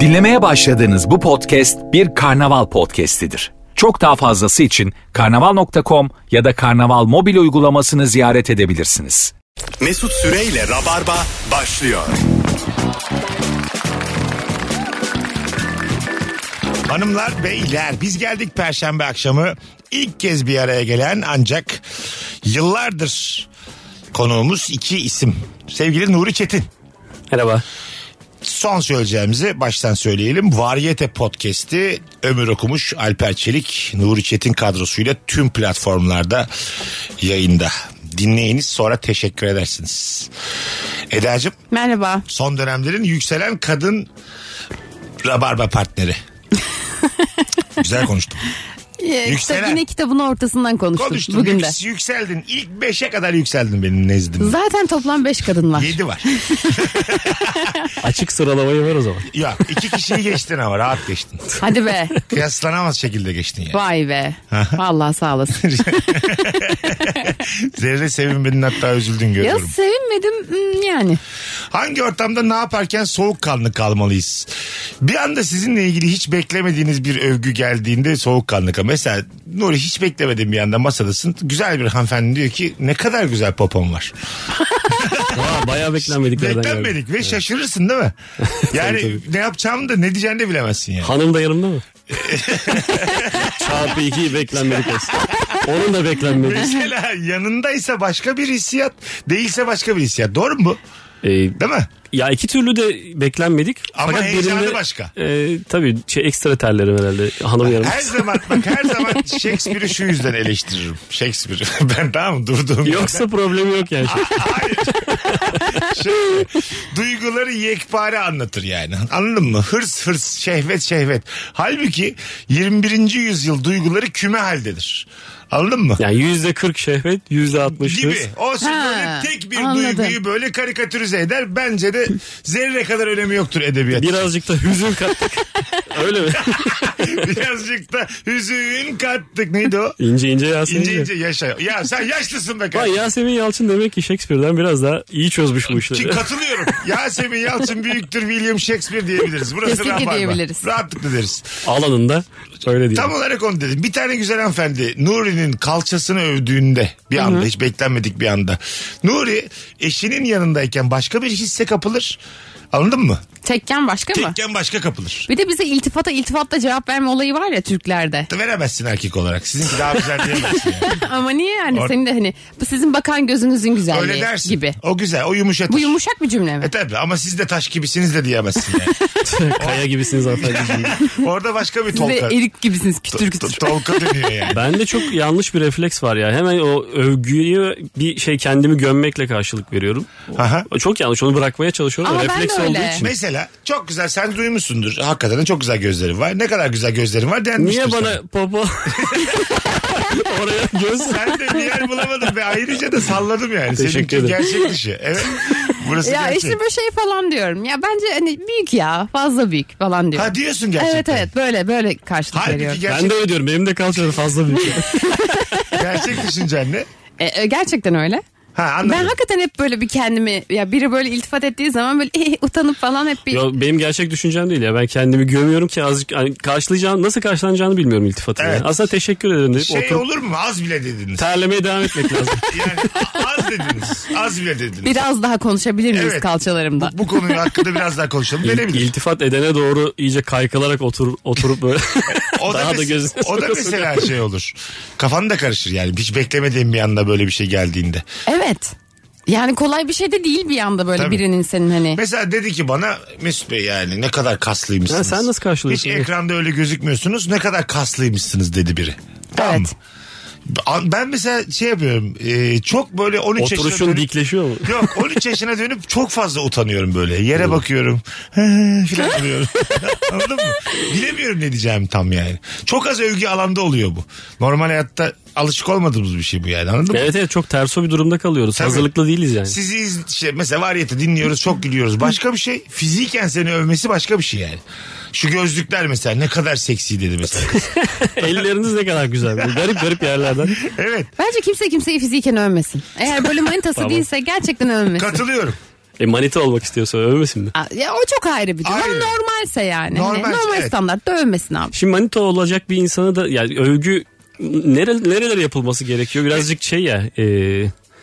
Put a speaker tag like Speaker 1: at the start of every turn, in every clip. Speaker 1: Dinlemeye başladığınız bu podcast bir karnaval podcastidir. Çok daha fazlası için karnaval.com ya da karnaval mobil uygulamasını ziyaret edebilirsiniz.
Speaker 2: Mesut Süreyle Rabarba başlıyor.
Speaker 3: Hanımlar beyler biz geldik perşembe akşamı ilk kez bir araya gelen ancak yıllardır konuğumuz iki isim. Sevgili Nuri Çetin.
Speaker 4: Merhaba.
Speaker 3: Son söyleyeceğimizi baştan söyleyelim. Varyete Podcast'i Ömür Okumuş, Alper Çelik, Nuri Çetin kadrosuyla tüm platformlarda yayında. Dinleyiniz sonra teşekkür edersiniz. Eda'cığım
Speaker 5: Merhaba.
Speaker 3: son dönemlerin yükselen kadın rabarba partneri. Güzel konuştum.
Speaker 5: Ee,
Speaker 3: Yükselen.
Speaker 5: kitap- yine kitabın ortasından konuştuk,
Speaker 3: Konuştum.
Speaker 5: bugün de.
Speaker 3: Yük- Yükseldin. İlk 5'e kadar yükseldin benim nezdimde.
Speaker 5: Zaten toplam 5 kadın var.
Speaker 3: 7 var.
Speaker 4: Açık sıralamayı ver o zaman.
Speaker 3: ya iki kişiyi geçtin ama rahat geçtin.
Speaker 5: Hadi be.
Speaker 3: Kıyaslanamaz şekilde geçtin yani.
Speaker 5: Vay be. Vallahi sağ olasın.
Speaker 3: Zerre sevinmedin hatta üzüldün
Speaker 5: ya
Speaker 3: görüyorum.
Speaker 5: sevinmedim hmm, yani.
Speaker 3: Hangi ortamda ne yaparken soğukkanlı kalmalıyız? Bir anda sizinle ilgili hiç beklemediğiniz bir övgü geldiğinde soğukkanlı kal. Mesela Nuri hiç beklemediğim bir anda masadasın. Güzel bir hanımefendi diyor ki ne kadar güzel popom var.
Speaker 4: Aa, bayağı beklenmedik. yerden geldi.
Speaker 3: Beklenmedik ve şaşırırsın değil mi? Yani ne yapacağımı da ne diyeceğini de bilemezsin yani.
Speaker 4: Hanım da yanımda mı? Çarpı iki beklenmedik aslında. Onun da beklenmedik.
Speaker 3: Mesela yanındaysa başka bir hissiyat, değilse başka bir hissiyat. Doğru mu bu?
Speaker 4: Ee,
Speaker 3: Değil mi?
Speaker 4: ya iki türlü de beklenmedik.
Speaker 3: Ama heyecanı başka.
Speaker 4: E, tabii şey, ekstra terlerim herhalde hanım yanımda.
Speaker 3: Her zaman bak her zaman Shakespeare'i şu yüzden eleştiririm. Shakespeare'i ben tamam mı? durduğum
Speaker 4: Yoksa problemi yok yani.
Speaker 3: Ah. yerden şöyle, duyguları yekpare anlatır yani. Anladın mı? Hırs hırs, şehvet şehvet. Halbuki 21. yüzyıl duyguları küme haldedir. Anladın mı?
Speaker 4: Yani yüzde kırk şehvet, yüzde altmış hız.
Speaker 3: gibi. O şimdi
Speaker 5: Ha,
Speaker 3: böyle tek bir
Speaker 5: anladım.
Speaker 3: duyguyu böyle karikatürize eder. Bence de zerre kadar önemi yoktur edebiyat.
Speaker 4: Birazcık da hüzün kattık. Öyle mi?
Speaker 3: Birazcık da hüzün kattık. Neydi o?
Speaker 4: İnce ince Yasemin.
Speaker 3: İnce ince yaşa. Ya sen yaşlısın be
Speaker 4: Vay
Speaker 3: kardeşim.
Speaker 4: Yasemin Yalçın demek ki Shakespeare'den biraz daha iyi çözmüş
Speaker 3: Ki
Speaker 4: bu işleri.
Speaker 3: katılıyorum. Yasemin Yalçın büyüktür William Shakespeare diyebiliriz. Burası
Speaker 5: Kesinlikle
Speaker 3: Rabarba.
Speaker 5: diyebiliriz.
Speaker 3: Rahatlıkla deriz.
Speaker 4: Alanında öyle değil.
Speaker 3: Tam olarak onu dedim. Bir tane güzel hanımefendi Nuri'nin kalçasını övdüğünde bir anda hiç beklenmedik bir anda. Nuri eşinin yanındayken başka bir hisse kapılır. Anladın mı?
Speaker 5: Tekken başka mı?
Speaker 3: Tekken başka kapılır.
Speaker 5: Bir de bize iltifata iltifatla cevap verme olayı var ya Türklerde.
Speaker 3: Veremezsin erkek olarak. Sizinki daha güzel diyemezsin. yani.
Speaker 5: Ama niye yani
Speaker 3: Or-
Speaker 5: senin de hani bu sizin bakan gözünüzün güzelliği
Speaker 3: Öyle dersin.
Speaker 5: gibi.
Speaker 3: O güzel. O yumuşatır.
Speaker 5: Bu yumuşak bir cümle mi?
Speaker 3: E tabi ama siz de taş gibisiniz de diyemezsin yani.
Speaker 4: Kaya gibisiniz hanımefendiciğim.
Speaker 3: Orada başka bir
Speaker 5: Siz de
Speaker 3: tolka.
Speaker 5: erik gibisiniz kütür
Speaker 3: to-
Speaker 5: kütür.
Speaker 3: Tolka dönüyor yani.
Speaker 4: Bende çok yanlış bir refleks var ya. Hemen o övgüyü bir şey kendimi gömmekle karşılık veriyorum.
Speaker 3: Aha.
Speaker 4: Çok yanlış onu bırakmaya çalışıyorum. da
Speaker 5: Ama ben de
Speaker 4: refleks
Speaker 5: öyle.
Speaker 4: olduğu için.
Speaker 3: Mesela çok güzel sen duymuşsundur. Hakikaten de çok güzel gözlerin var. Ne kadar güzel gözlerin var denmiştir.
Speaker 4: Niye bana
Speaker 3: sana.
Speaker 4: popo oraya göz
Speaker 3: şey. Sen de bir yer bulamadın ve ayrıca da salladım yani.
Speaker 4: Teşekkür
Speaker 3: Seninki
Speaker 4: ederim.
Speaker 3: gerçek dışı. Evet. Burası
Speaker 5: Ya
Speaker 3: gerçek.
Speaker 5: işte böyle şey falan diyorum. Ya bence hani büyük ya fazla büyük falan diyorum.
Speaker 3: Ha diyorsun gerçekten.
Speaker 5: Evet evet böyle böyle karşılık
Speaker 3: Halbuki
Speaker 5: veriyorum.
Speaker 3: gerçek,
Speaker 4: Ben de öyle diyorum. Benim de kalçaları fazla büyük.
Speaker 3: gerçek düşüncen ne?
Speaker 5: E, e, gerçekten öyle.
Speaker 3: Ha
Speaker 5: Ben
Speaker 3: anladım.
Speaker 5: hakikaten hep böyle bir kendimi ya biri böyle iltifat ettiği zaman böyle "Eh, eh," utanıp falan hep bir
Speaker 4: Yo, benim gerçek düşüncem değil ya. Ben kendimi gömüyorum ki azıcık hani karşılayacağım nasıl karşılanacağını bilmiyorum iltifatını.
Speaker 3: Evet.
Speaker 4: ya. Aslında teşekkür ederim deyip
Speaker 3: Şey
Speaker 4: oturup
Speaker 3: olur mu? Az bile dediniz.
Speaker 4: terlemeye devam etmek lazım.
Speaker 3: Yani a- az dediniz. Az bile dediniz.
Speaker 5: biraz daha konuşabilir miyiz
Speaker 3: Evet.
Speaker 5: kalçalarımda?
Speaker 3: Bu konuyu hakkında biraz daha konuşalım.
Speaker 4: İl-
Speaker 3: Denebilir.
Speaker 4: İltifat edene doğru iyice kaykılarak otur, oturup böyle
Speaker 3: O da,
Speaker 4: daha da
Speaker 3: mes-
Speaker 4: gözüne
Speaker 3: o da
Speaker 4: soka soka.
Speaker 3: mesela şey olur. Kafan da karışır yani. Hiç beklemediğin bir anda böyle bir şey geldiğinde.
Speaker 5: Evet. Yani kolay bir şey de değil bir anda böyle
Speaker 3: Tabii.
Speaker 5: birinin senin hani.
Speaker 3: Mesela dedi ki bana Mesut Bey yani ne kadar kaslıymışsınız.
Speaker 4: Ya sen nasıl
Speaker 3: Hiç
Speaker 4: karşılıyorsun?
Speaker 3: ekranda öyle gözükmüyorsunuz. Ne kadar kaslıymışsınız dedi biri. Tamam mı?
Speaker 5: Evet.
Speaker 3: A- Ben mesela şey yapıyorum. e, çok böyle 13 yaşına
Speaker 4: Oturuşun
Speaker 3: dönüp-
Speaker 4: dikleşiyor mu?
Speaker 3: Yok 13 yaşına dönüp çok fazla utanıyorum böyle. Yere bakıyorum. filan oluyorum. Anladın mı? Bilemiyorum ne diyeceğim tam yani. Çok az övgü alanda oluyor bu. Normal hayatta alışık olmadığımız bir şey bu yani anladın mı?
Speaker 4: Evet evet çok terso bir durumda kalıyoruz.
Speaker 3: Tabii.
Speaker 4: Hazırlıklı değiliz yani.
Speaker 3: Sizi iz- şey, mesela variyeti dinliyoruz çok gülüyoruz. Başka bir şey fiziken seni övmesi başka bir şey yani. Şu gözlükler mesela ne kadar seksi dedi mesela. kız.
Speaker 4: Elleriniz ne kadar güzel. Böyle Garip garip yerlerden.
Speaker 3: evet
Speaker 5: Bence kimse kimseyi fiziken övmesin. Eğer böyle manitası
Speaker 4: Tamam.
Speaker 5: değilse gerçekten övmesin.
Speaker 3: katılıyorum.
Speaker 4: E manita olmak istiyorsa övmesin mi?
Speaker 5: Aa, Ya, o çok ayrı bir durum. Ama
Speaker 3: Ayrı.
Speaker 5: normalse yani. Hani
Speaker 3: Normal,
Speaker 5: normal
Speaker 3: evet.
Speaker 5: standart dövmesin abi.
Speaker 4: Şimdi manita olacak bir insana da yani övgü nere, nerelere yapılması gerekiyor? Birazcık şey ya e,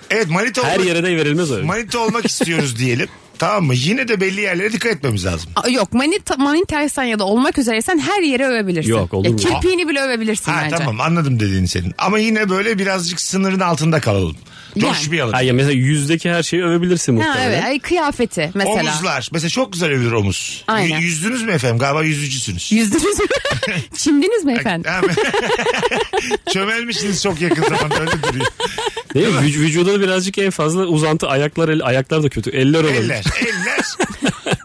Speaker 3: Evet manita
Speaker 4: her
Speaker 3: olmak,
Speaker 4: yere de verilmez övgü.
Speaker 3: manita olmak istiyoruz diyelim. Tamam mı? Yine de belli yerlere dikkat etmemiz lazım.
Speaker 5: Aa, Yok manita, manitaysan ya da olmak üzereysen her yere övebilirsin.
Speaker 4: Yok, olur
Speaker 5: ya,
Speaker 4: mu?
Speaker 5: Kirpiğini bile övebilirsin
Speaker 3: Ha
Speaker 5: bence.
Speaker 3: tamam anladım dediğin senin. Ama yine böyle birazcık sınırın altında kalalım.
Speaker 5: Yani.
Speaker 3: Coşmayalım.
Speaker 4: Ay ya mesela yüzdeki her şeyi övebilirsin
Speaker 5: Ha,
Speaker 4: muhtemelen.
Speaker 5: evet. Ay, kıyafeti mesela.
Speaker 3: Omuzlar. Mesela çok güzel övülür omuz.
Speaker 5: Aynen.
Speaker 3: Y- yüzdünüz mü efendim? Galiba yüzücüsünüz.
Speaker 5: Yüzdünüz mü? Çimdiniz mi efendim?
Speaker 3: Ha, Çömelmişsiniz çok yakın zamanda öyle duruyor.
Speaker 4: Değil mi? Vüc- vücuda birazcık en fazla uzantı ayaklar el, ayaklar da kötü. Eller olabilir.
Speaker 3: Eller, eller.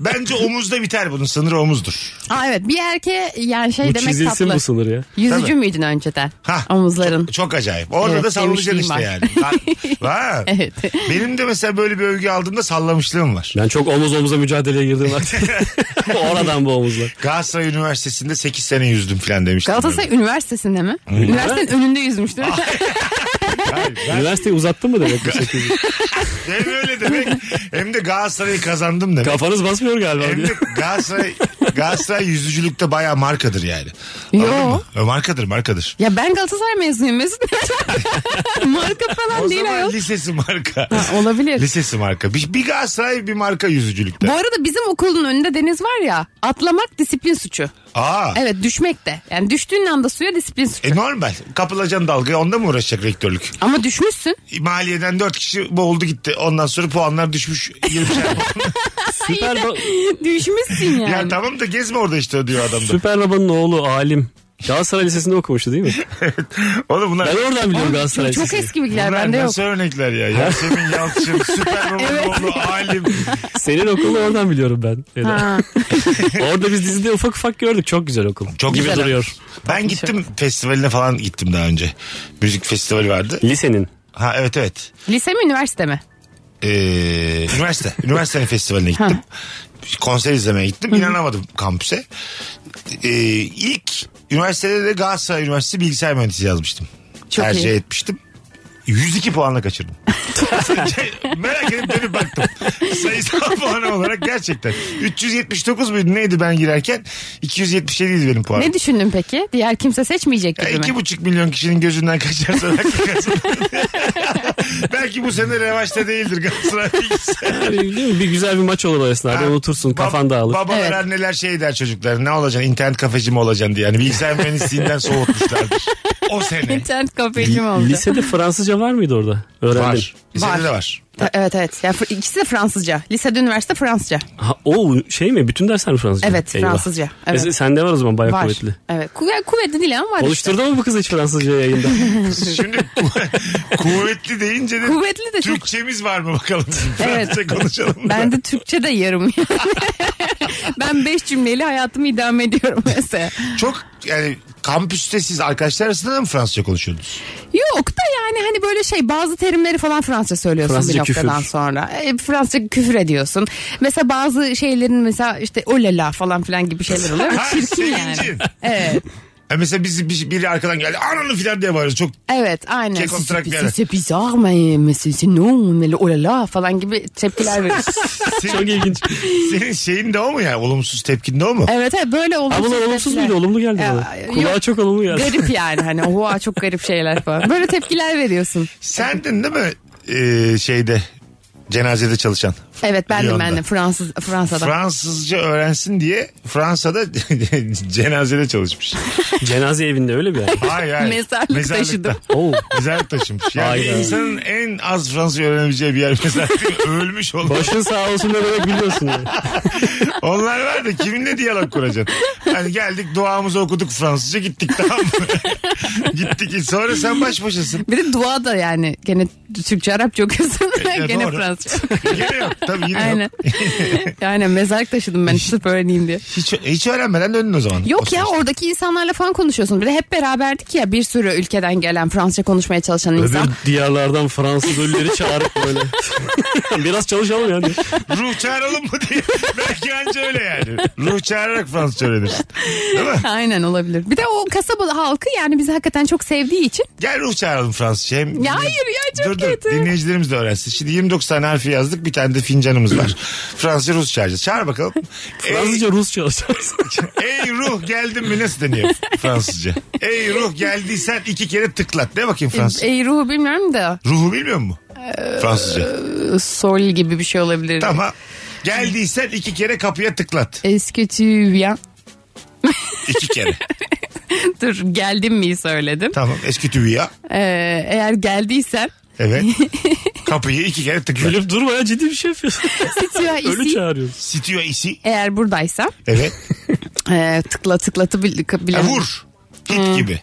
Speaker 3: Bence omuzda biter bunun. Sınırı omuzdur.
Speaker 5: Aa, evet bir erkeğe yani şey
Speaker 4: Bu
Speaker 5: demek
Speaker 4: çizilsin
Speaker 5: tatlı.
Speaker 4: bu sınır ya.
Speaker 5: Yüzücü
Speaker 3: Tabii.
Speaker 5: müydün önceden?
Speaker 3: Hah.
Speaker 5: Omuzların.
Speaker 3: Çok acayip. Orada
Speaker 5: Evet,
Speaker 3: da sallayacaksın işte
Speaker 5: demişliğim
Speaker 3: yani. Ha, ha.
Speaker 5: Evet.
Speaker 3: Benim de mesela böyle bir övgü aldığımda sallamışlığım var.
Speaker 4: Ben çok omuz omuza mücadeleye girdim artık. Oradan bu omuzlar.
Speaker 3: Galatasaray Üniversitesi'nde 8 sene yüzdüm falan demiştim.
Speaker 5: Galatasaray Üniversitesi'nde mi? Ah, Üniversitenin önünde yüzmüştün.
Speaker 4: Üniversiteyi uzattın mı demek bu sekiz yıl?
Speaker 3: Hem öyle demek hem de Galatasaray'ı kazandım demek.
Speaker 4: Kafanız basmıyor galiba.
Speaker 3: Hem de
Speaker 4: diyor.
Speaker 3: Galatasaray, Galatasaray yüzücülükte bayağı markadır yani.
Speaker 5: Yo.
Speaker 3: Anladın mı? E, Markadır markadır.
Speaker 5: ya ben Galatasaray mezunuyum Mesut. Marka falan
Speaker 3: O
Speaker 5: değil
Speaker 3: zaman
Speaker 5: ayol.
Speaker 3: lisesi marka.
Speaker 5: Ha, olabilir.
Speaker 3: Lisesi marka. Bir, bir Galatasaray bir marka yüzücülükte.
Speaker 5: Bu arada bizim okulun önünde deniz var ya atlamak disiplin suçu.
Speaker 3: Aa.
Speaker 5: Evet düşmek de. Yani düştüğün anda suya disiplin suçu.
Speaker 3: E normal. Kapılacaksın dalgaya onda mı uğraşacak rektörlük?
Speaker 5: Ama düşmüşsün.
Speaker 3: Maliyeden 4 kişi boğuldu gitti. Ondan sonra puanlar düşmüş. yirmişer.
Speaker 4: Süper, ba-
Speaker 5: düşmüşsün yani.
Speaker 3: ya tamam da gezme orada işte diyor adam da.
Speaker 4: Süper Baba'nın oğlu Alim. Galatasaray Lisesi'nde okumuştu değil mi?
Speaker 3: Oğlum bunlar...
Speaker 4: Ben oradan biliyorum Galatasaray
Speaker 5: Çok
Speaker 4: Lisesi'ni.
Speaker 5: eski bilgiler
Speaker 3: Bunlar
Speaker 5: bende yok.
Speaker 3: nasıl örnekler ya? Yasemin Yalçın, Süper Baba'nın oğlu, Alim.
Speaker 4: Senin okulunu oradan biliyorum ben. Eda.
Speaker 5: Ha.
Speaker 4: Orada biz dizide ufak ufak gördük. Çok güzel okul.
Speaker 3: Çok
Speaker 4: Gibi
Speaker 3: güzel.
Speaker 4: duruyor.
Speaker 3: Ben gittim festivaline falan gittim daha önce. Müzik festivali vardı.
Speaker 4: Lisenin.
Speaker 3: Ha evet evet.
Speaker 5: Lise mi üniversite mi?
Speaker 3: Ee, üniversite. Üniversitenin festivaline gittim. Konser izlemeye gittim. İnanamadım kampüse. Ee, ilk üniversitede de Galatasaray Üniversitesi Bilgisayar Mühendisliği yazmıştım.
Speaker 5: Çok
Speaker 3: Tercih
Speaker 5: iyi.
Speaker 3: etmiştim. 102 puanla kaçırdım. Merak edip dönüp baktım. Sayısal puan olarak gerçekten. 379 muydu neydi ben girerken? 277 idi benim puanım.
Speaker 5: Ne düşündün peki? Diğer kimse seçmeyecek
Speaker 3: Ya
Speaker 5: gibi
Speaker 3: E, iki
Speaker 5: mi?
Speaker 3: buçuk milyon kişinin gözünden kaçarsa belki kazanır. belki bu sene revaçta değildir Galatasaray bilgisayar.
Speaker 4: Yani değil mi? Bir güzel bir maç olur o esnada. Unutursun kafan dağılır.
Speaker 3: Babalar
Speaker 5: Evet.
Speaker 3: anneler şey der çocuklar ne olacaksın internet kafeci mi olacaksın diye. Yani bilgisayar mühendisliğinden soğutmuşlardır. O sene.
Speaker 5: İnternet kafecim oldu.
Speaker 4: Lisede Fransızca var mıydı orada? Öğrendim.
Speaker 3: Var. Lisede de var.
Speaker 5: Ta- Evet evet. Ya, fr- ikisi de Fransızca. Lisede üniversite Fransızca.
Speaker 4: Ha, o şey mi? Bütün dersler mi Fransızca?
Speaker 5: Evet, Fransızca. Evet.
Speaker 4: E, sende var o zaman bayağı
Speaker 5: var.
Speaker 4: kuvvetli.
Speaker 5: Evet. Ku- yani kuvvetli değil ama var işte.
Speaker 4: Oluşturdu mu bu kız hiç Fransızca yayında?
Speaker 3: Şimdi ku- kuvvetli deyince de
Speaker 5: Kuvvetli de çok.
Speaker 3: Türkçemiz var mı bakalım?
Speaker 5: Evet.
Speaker 3: Fransızca konuşalım.
Speaker 5: Ben de Türkçe de yarım. ben beş cümleyle hayatımı idame ediyorum mesela.
Speaker 3: Çok yani kampüste siz arkadaşlar arasında da mı Fransızca konuşuyordunuz?
Speaker 5: Yok da yani hani böyle şey bazı terimleri falan Fransızca söylüyorsun bir
Speaker 4: Fransızca
Speaker 5: noktadan
Speaker 4: küfür.
Speaker 5: sonra. E, Fransızca küfür ediyorsun. Mesela bazı şeylerin mesela işte olala falan filan gibi şeyler oluyor.
Speaker 3: Ha,
Speaker 5: Çirkin
Speaker 4: şey
Speaker 5: yani.
Speaker 3: sevincin.
Speaker 5: Evet.
Speaker 3: Ha, E mesela bizi bir- biri arkadan geldi ananı filan diye bağırıyoruz. Çok
Speaker 5: Evet aynen.
Speaker 3: Kek
Speaker 5: C'est-
Speaker 3: olarak yani.
Speaker 5: c'est- C'est bizarre mais mais c'est c'est non mais le- oh là là falan gibi tepkiler veriyorsun.
Speaker 4: Çok ilginç.
Speaker 3: Senin şeyin de o mu yani? Olumsuz tepkin de o mu?
Speaker 5: evet evet böyle olumsuz.
Speaker 4: Ha bunlar olumsuz
Speaker 5: tepkiler.
Speaker 4: muydu? Olumlu geldi
Speaker 5: Ya,
Speaker 4: bana.
Speaker 5: yok.
Speaker 4: Kulağa çok olumlu geldi.
Speaker 5: Garip yani hani oha çok garip şeyler falan. Böyle tepkiler veriyorsun.
Speaker 3: Sendin değil mi ee, şeyde cenazede çalışan?
Speaker 5: Evet ben de
Speaker 3: Lyon'da.
Speaker 5: ben de Fransız Fransa'da.
Speaker 3: Fransızca öğrensin diye Fransa'da cenazede çalışmış.
Speaker 4: Cenaze evinde öyle bir yer.
Speaker 3: Hayır hayır.
Speaker 5: Mezarlık taşıdım.
Speaker 4: Oo.
Speaker 3: Mezarlık taşımış. Yani
Speaker 4: Hayda.
Speaker 3: insanın en az Fransızca öğrenebileceği bir yer mezarlık. Ölmüş olan.
Speaker 4: Başın sağ olsun da böyle gülüyorsun. ya.
Speaker 3: Onlar var da kiminle diyalog kuracaksın? Hani geldik duamızı okuduk Fransızca gittik tamam mı? gittik. Sonra sen baş başasın.
Speaker 5: Bir de dua da yani gene Türkçe Arapça okuyorsun
Speaker 3: E,
Speaker 5: gene
Speaker 3: doğru.
Speaker 5: Fransızca.
Speaker 3: Yine yok. Tabii yine
Speaker 5: Aynen.
Speaker 3: yok.
Speaker 5: yani mezarlık taşıdım ben sırf öğreneyim diye.
Speaker 3: Hiç, hiç öğrenmeden döndün o zaman.
Speaker 5: Yok
Speaker 3: O
Speaker 5: ya oradaki insanlarla falan konuşuyorsun. Bir de hep beraberdik ya bir sürü ülkeden gelen Fransızca konuşmaya çalışan insan.
Speaker 4: Öbür diyarlardan Fransız ölüleri çağırıp böyle. Biraz çalışalım yani.
Speaker 3: Ruh çağıralım mı diye. Belki anca öyle yani. Ruh çağırarak Fransızca öğrenirsin. Değil mi?
Speaker 5: Aynen olabilir. Bir de o kasabalı halkı yani bizi hakikaten çok sevdiği için.
Speaker 3: Gel ruh çağıralım Fransızca. Hem
Speaker 5: Ya hayır ya çok
Speaker 3: dur, dur.
Speaker 5: kötü.
Speaker 3: Dinleyicilerimiz de öğrensin. Şimdi 29 tane harfi yazdık. Bir tane de fincanımız var. Fransızca Rusça çağıracağız. Çağır bakalım. ey,
Speaker 4: Fransızca Rusça alacağız.
Speaker 3: ey ruh geldin mi nasıl deniyor Fransızca? Ey ruh geldiysen iki kere tıklat. Ne bakayım Fransızca?
Speaker 5: Ey e, ruhu bilmiyorum da
Speaker 3: Ruhu bilmiyor musun? Fransızca.
Speaker 5: Ee, sol gibi bir şey olabilir.
Speaker 3: Tamam. Geldiysen iki kere kapıya tıklat.
Speaker 5: Eski tüyen.
Speaker 3: İki kere.
Speaker 5: Dur geldim mi söyledim.
Speaker 3: tamam. Eski tüviya.
Speaker 5: Ee, eğer geldiysen.
Speaker 3: Evet. Kapıyı iki kere tıklat.
Speaker 4: Gülüp durma ya ciddi bir şey yapıyorsun.
Speaker 5: Sitya
Speaker 4: Ölü
Speaker 5: isi.
Speaker 4: çağırıyoruz.
Speaker 3: Sitiyor isi.
Speaker 5: Eğer buradaysan
Speaker 3: Evet.
Speaker 5: e, tıkla tıklatı
Speaker 3: Ya
Speaker 5: bile.
Speaker 3: vur. Hit gibi.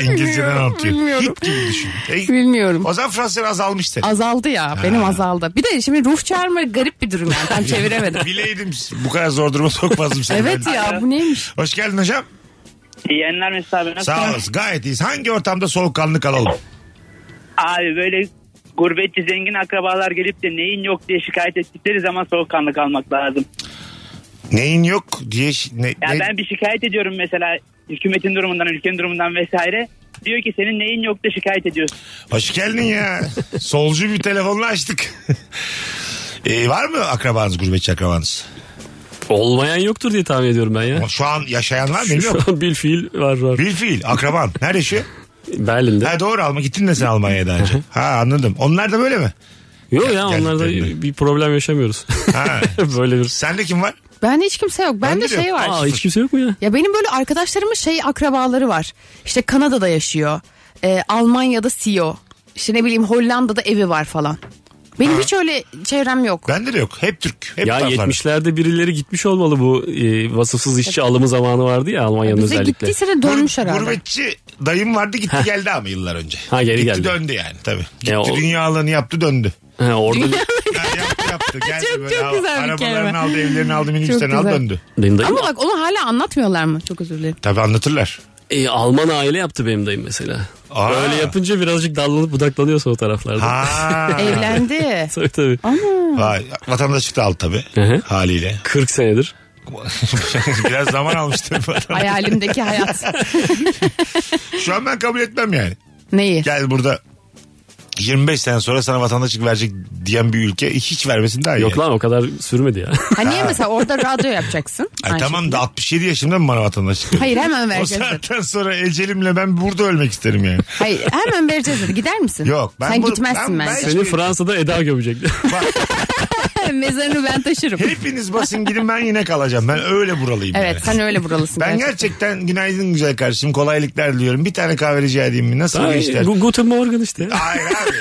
Speaker 3: İngilizceden anlatıyor.
Speaker 5: bilmiyorum.
Speaker 3: Hit gibi düşün. Ey,
Speaker 5: Bilmiyorum.
Speaker 3: o zaman Fransızcan azalmış senin.
Speaker 5: Azaldı ya benim azaldı. Bir de şimdi ruh çağırma garip bir durum yani tam çeviremedim.
Speaker 3: Bileydim bu kadar zor duruma sokmazdım seni.
Speaker 5: evet
Speaker 3: ben.
Speaker 5: ya bu neymiş?
Speaker 3: Hoş geldin hocam.
Speaker 6: İyi yayınlar Mesut abi nasılsın?
Speaker 3: Sağ olasın. Gayet iyiyiz. Hangi ortamda soğukkanlı kalalım?
Speaker 6: Abi böyle gurbetçi zengin akrabalar gelip de neyin yok diye şikayet ettikleri zaman soğukkanlı kalmak lazım.
Speaker 3: Neyin yok diye... şi- Ne,
Speaker 6: Ya
Speaker 3: ne-
Speaker 6: ben bir şikayet ediyorum mesela hükümetin durumundan, ülkenin durumundan vesaire. Diyor ki senin neyin yok da şikayet ediyorsun.
Speaker 3: Hoş geldin ya. Solcu bir telefonla açtık. Ee, var mı akrabanız, gurbetçi akrabanız?
Speaker 4: Olmayan yoktur diye tahmin ediyorum ben ya.
Speaker 3: Şu an yaşayan var mı bilmiyorum.
Speaker 4: Şu an bil fiil var var.
Speaker 3: Bir fiil akraban. Nerede yaşıyor?
Speaker 4: Berlin'de.
Speaker 3: Ha doğru Alman gittin de sen Almanya'ya daha önce. Ha anladım. Onlar da böyle mi?
Speaker 4: Yok ya onlarda
Speaker 3: geldiklerinde.
Speaker 4: bir problem yaşamıyoruz.
Speaker 3: Ha.
Speaker 4: Böyle bir.
Speaker 3: Sende kim var?
Speaker 5: Bende hiç kimse yok. Bende
Speaker 3: Bende de
Speaker 5: şey
Speaker 3: yok.
Speaker 5: var.
Speaker 4: Aa hiç kimse yok mu ya?
Speaker 5: Ya benim böyle arkadaşlarımın şey akrabaları var. İşte Kanada'da yaşıyor. Ee, Almanya'da CEO. İşte ne bileyim Hollanda'da evi var falan. Benim hiç öyle çevrem yok.
Speaker 3: Bende de yok. Hep Türk. Hep
Speaker 4: Ya
Speaker 3: taraflarda.
Speaker 4: 70'lerde birileri gitmiş olmalı bu e, vasıfsız işçi alımı zamanı vardı ya Almanya'nın
Speaker 5: Bize
Speaker 4: özellikle.
Speaker 5: gittiyse de
Speaker 3: Gur-
Speaker 5: dönmüş herhalde.
Speaker 3: Gurbetçi dayım vardı gitti geldi ama yıllar önce.
Speaker 4: Ha, geri
Speaker 3: gitti
Speaker 4: geldi. E,
Speaker 3: döndü yani tabii. Gitti
Speaker 4: o-
Speaker 3: dünyalarını yaptı döndü.
Speaker 4: Ha, orada bir-
Speaker 3: Ha, yaptı yaptı. Geldi
Speaker 5: Çok-
Speaker 3: böyle.
Speaker 5: çok
Speaker 3: al-
Speaker 5: güzel bir
Speaker 3: Arabalarını
Speaker 5: kelime.
Speaker 3: aldı evlerini aldı minibüslerini
Speaker 5: Çok
Speaker 3: aldı
Speaker 5: güzel.
Speaker 3: döndü.
Speaker 4: benim dayım
Speaker 5: Ama bak onu hala anlatmıyorlar mı? Çok özür dilerim.
Speaker 3: Tabii anlatırlar.
Speaker 4: e, Alman aile yaptı benim dayım mesela.
Speaker 3: Aa.
Speaker 4: Öyle yapınca birazcık dallanıp budaklanıyorsa o taraflarda.
Speaker 3: Ha.
Speaker 5: Evlendi.
Speaker 4: Tabii tabii.
Speaker 3: Vay, vatandaşlık da aldı tabii
Speaker 4: hı.
Speaker 3: haliyle.
Speaker 4: 40 senedir.
Speaker 3: Biraz zaman almıştı.
Speaker 5: Hayalimdeki hayat.
Speaker 3: Şu an ben kabul etmem yani.
Speaker 5: Neyi?
Speaker 3: Gel burada 25 sene sonra sana vatandaşlık verecek diyen bir ülke e, hiç vermesin daha iyi.
Speaker 4: Yok lan o kadar sürmedi ya.
Speaker 5: Ha niye mesela orada radyo yapacaksın?
Speaker 3: Ay,
Speaker 5: Aynı
Speaker 3: tamam
Speaker 5: şekilde.
Speaker 3: da 67 yaşımda mı bana vatandaşlık veriyor?
Speaker 5: Hayır hemen
Speaker 3: O
Speaker 5: vereceğiz. dedi.
Speaker 3: saatten sonra ecelimle ben burada ölmek isterim yani.
Speaker 5: Hayır hemen vereceğiz dedi. Gider misin?
Speaker 3: Yok, ben
Speaker 5: Sen
Speaker 3: bunu-
Speaker 5: gitmezsin
Speaker 3: ben-
Speaker 5: bence.
Speaker 4: Seni Fransa'da Eda gömecekti.
Speaker 5: Mezarını ben taşırım.
Speaker 3: Hepiniz basın gidin ben yine kalacağım. Ben öyle buralıyım.
Speaker 5: Evet
Speaker 3: yani.
Speaker 5: sen öyle buralısın.
Speaker 3: Ben gerçekten günaydın güzel kardeşim kolaylıklar diliyorum. Bir tane kahve rica edeyim mi? Nasıl
Speaker 4: Ay,
Speaker 3: geçti?
Speaker 4: Gu- Guten Morgen işte.
Speaker 3: Hayır abi.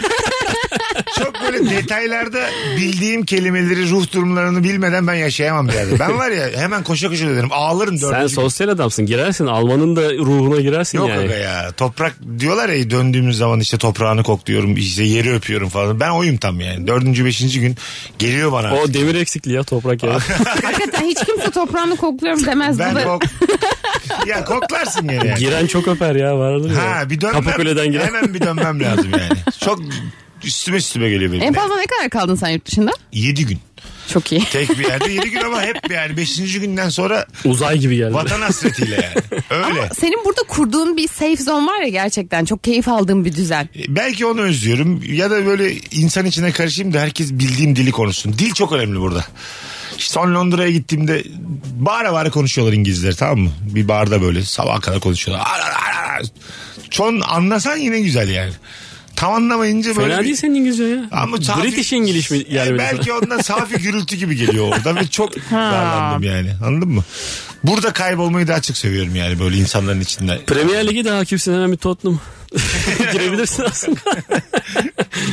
Speaker 3: Çok böyle detaylarda bildiğim kelimeleri, ruh durumlarını bilmeden ben yaşayamam yani. Ben var ya hemen koşa koşa derim. Ağlarım
Speaker 4: Sen
Speaker 3: dördüncü
Speaker 4: sosyal adamsın. Girersin. Almanın da ruhuna girersin
Speaker 3: Yok
Speaker 4: yani.
Speaker 3: aga ya. Toprak diyorlar ya döndüğümüz zaman işte toprağını kokluyorum işte yeri öpüyorum falan. Ben oyum tam yani. Dördüncü beşinci gün geliyor bana.
Speaker 4: O demir eksikliği ya toprak ya.
Speaker 3: Ah,
Speaker 5: Hakikaten hiç kimse toprağını kokluyorum demez.
Speaker 3: ben
Speaker 5: Bu da-
Speaker 3: kok... ya koklarsın gene yani.
Speaker 4: Giren çok öper ya vardır ya.
Speaker 3: Ha bir dönmem.
Speaker 4: Kapıkule'den giren.
Speaker 3: Hemen bir dönmem lazım yani. Çok üstüme üstüme geliyor benim.
Speaker 5: En fazla ne kadar kaldın sen yurt dışında?
Speaker 3: Yedi gün.
Speaker 5: Çok iyi.
Speaker 3: Tek bir yerde yedi gün ama hep yani beşinci günden sonra
Speaker 4: Uzay gibi geldi.
Speaker 3: vatan hasretiyle yani. Öyle.
Speaker 5: Senin burada kurduğun bir safe zone var ya gerçekten çok keyif aldığın bir düzen.
Speaker 3: E, Belki onu özlüyorum ya da böyle insan içine karışayım da herkes bildiğim dili konuşsun. Dil çok önemli burada. İşte Son Londra'ya gittiğimde bağıra bağıra konuşuyorlar İngilizler tamam mı? Bir barda böyle sabaha kadar konuşuyorlar. Ar, ar, ar, ar. Çon anlasan yine güzel yani. Tam anlamayınca böyle
Speaker 4: Fena
Speaker 3: bir-
Speaker 4: değil senin İngilizce ya.
Speaker 3: Ama safi- E,
Speaker 4: British English mi yani?
Speaker 3: Belki ondan safi gürültü gibi geliyor orada ve çok darlandım yani anladın mı? Burada kaybolmayı daha çok seviyorum yani böyle insanların içinde.
Speaker 4: Premier Ligi de hakimsin hemen bir Tottenham. Girebilirsin aslında.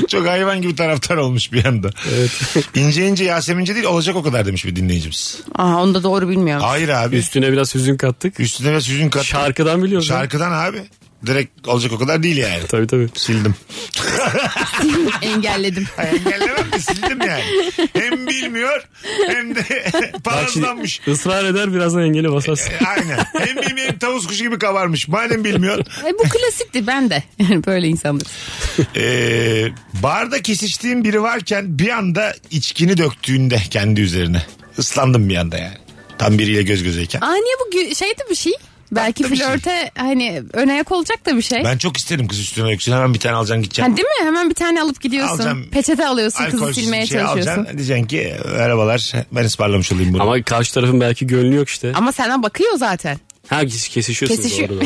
Speaker 3: Çok hayvan gibi taraftar olmuş bir anda. Evet. İnce ince Yasemince değil olacak o kadar demiş bir dinleyicimiz.
Speaker 5: Aa onu da doğru bilmiyorum.
Speaker 3: Hayır abi.
Speaker 4: Üstüne biraz hüzün kattık.
Speaker 3: Üstüne biraz hüzün kat.
Speaker 4: Şarkıdan biliyorum. Şarkı.
Speaker 3: Şarkıdan abi. Direkt olacak o kadar değil yani.
Speaker 4: Tabii tabii.
Speaker 3: Sildim.
Speaker 5: Engelledim.
Speaker 3: Ay, Engellemem de sildim yani. Hem bilmiyor hem de
Speaker 4: Bak şimdi
Speaker 3: paraslanmış.
Speaker 4: ısrar eder birazdan engeli basarsın.
Speaker 3: E, Aynen. Hem bilmiyor hem tavus kuşu gibi kabarmış. Madem bilmiyor.
Speaker 5: E, bu klasikti ben de. Böyle insandır.
Speaker 3: Ee, barda kesiştiğim biri varken bir anda içkini döktüğünde kendi üzerine. Islandım bir anda yani. Tam biriyle göz gözeyken.
Speaker 5: Aa niye bu gü- şeydi bir şey? Belki
Speaker 3: Tatlı bir şey.
Speaker 5: flörte hani önayak olacak da bir şey.
Speaker 3: Ben çok isterim kız üstüne öksün hemen bir tane alacaksın gideceksin.
Speaker 5: Ha, değil mi? Hemen bir tane alıp gidiyorsun.
Speaker 3: Alacağım.
Speaker 5: Peçete alıyorsun kızı
Speaker 3: Alkolsüz bir
Speaker 5: Hani silmeye
Speaker 3: şey
Speaker 5: çalışıyorsun.
Speaker 3: alacaksın. Diyeceksin ki merhabalar ben ısmarlamış olayım bunu.
Speaker 4: Ama karşı tarafın belki gönlü yok işte.
Speaker 5: Ama senden bakıyor zaten.
Speaker 4: Ha kes- kesişiyorsunuz
Speaker 5: Kesişiyor.
Speaker 4: doğru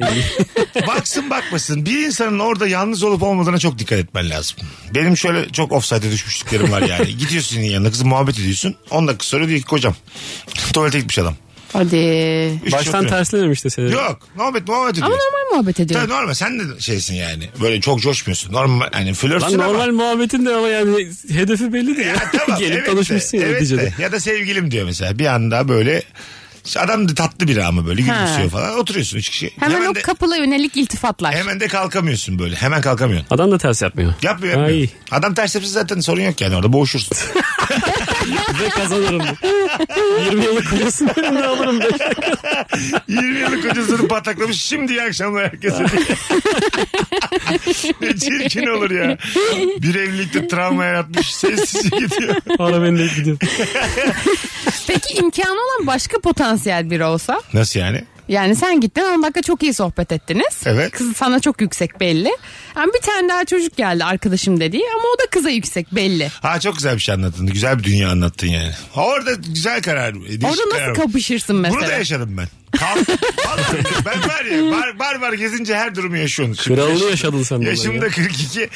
Speaker 4: doğru.
Speaker 3: Baksın bakmasın bir insanın orada yalnız olup olmadığına çok dikkat etmen lazım. Benim şöyle çok offside'e düşmüşlüklerim var yani. Gidiyorsun yanına kızı muhabbet ediyorsun. 10 dakika sonra diyor ki kocam tuvalete gitmiş adam.
Speaker 5: Hadi.
Speaker 3: Üç kişi
Speaker 4: Baştan
Speaker 3: oturuyor.
Speaker 4: terslememiş de seni.
Speaker 3: Yok muhabbet muhabbet ediyor.
Speaker 5: Ama normal muhabbet ediyor.
Speaker 3: Tabii normal sen de şeysin yani. Böyle çok coşmuyorsun. Normal hani flörtsün
Speaker 4: Lan
Speaker 3: ama.
Speaker 4: normal muhabbetin de ama yani hedefi bellidir ya.
Speaker 3: Ya tamam,
Speaker 4: Gelip
Speaker 3: evet de,
Speaker 4: tanışmışsın ya
Speaker 3: evet
Speaker 4: neticede.
Speaker 3: de. Ya da sevgilim diyor mesela bir anda böyle işte adam da tatlı biri ama böyle gülümsüyor falan. Oturuyorsun üç kişi.
Speaker 5: Hemen, o
Speaker 3: de,
Speaker 5: kapıla yönelik iltifatlar.
Speaker 3: hemen de kalkamıyorsun böyle. Hemen kalkamıyorsun.
Speaker 4: Adam da ters yapmıyor.
Speaker 3: Yapmıyor yapmıyor.
Speaker 4: Ay,
Speaker 3: Adam ters yapsa zaten sorun yok yani orada boğuşursun.
Speaker 4: ve kazanırım. 20 yıllık kurasını elimde alırım.
Speaker 3: 20 yıllık kocasını pataklamış şimdi iyi akşamlar herkese. ne çirkin olur ya. Bir evlilikte travma yaratmış sessizce gidiyor.
Speaker 4: Para beni de gidiyor.
Speaker 5: Peki imkanı olan başka potansiyel biri olsa?
Speaker 3: Nasıl yani?
Speaker 5: Yani sen gittin 10 dakika çok iyi sohbet ettiniz.
Speaker 3: Evet.
Speaker 5: Kız sana çok yüksek belli. Yani bir tane daha çocuk geldi arkadaşım dediği ama o da kıza yüksek belli.
Speaker 3: Ha çok güzel bir şey anlattın. Güzel bir dünya anlattın yani. Orada güzel karar. değişik
Speaker 5: Orada
Speaker 3: karar.
Speaker 5: nasıl kapışırsın mesela?
Speaker 3: Bunu da yaşadım ben. Kalk. Vallahi ben var ya bar, bar bar gezince her durumu yaşıyorsun. Şimdi
Speaker 4: Kralını yaşadın sen bunları
Speaker 3: Yaşım
Speaker 4: ya.
Speaker 3: da 42.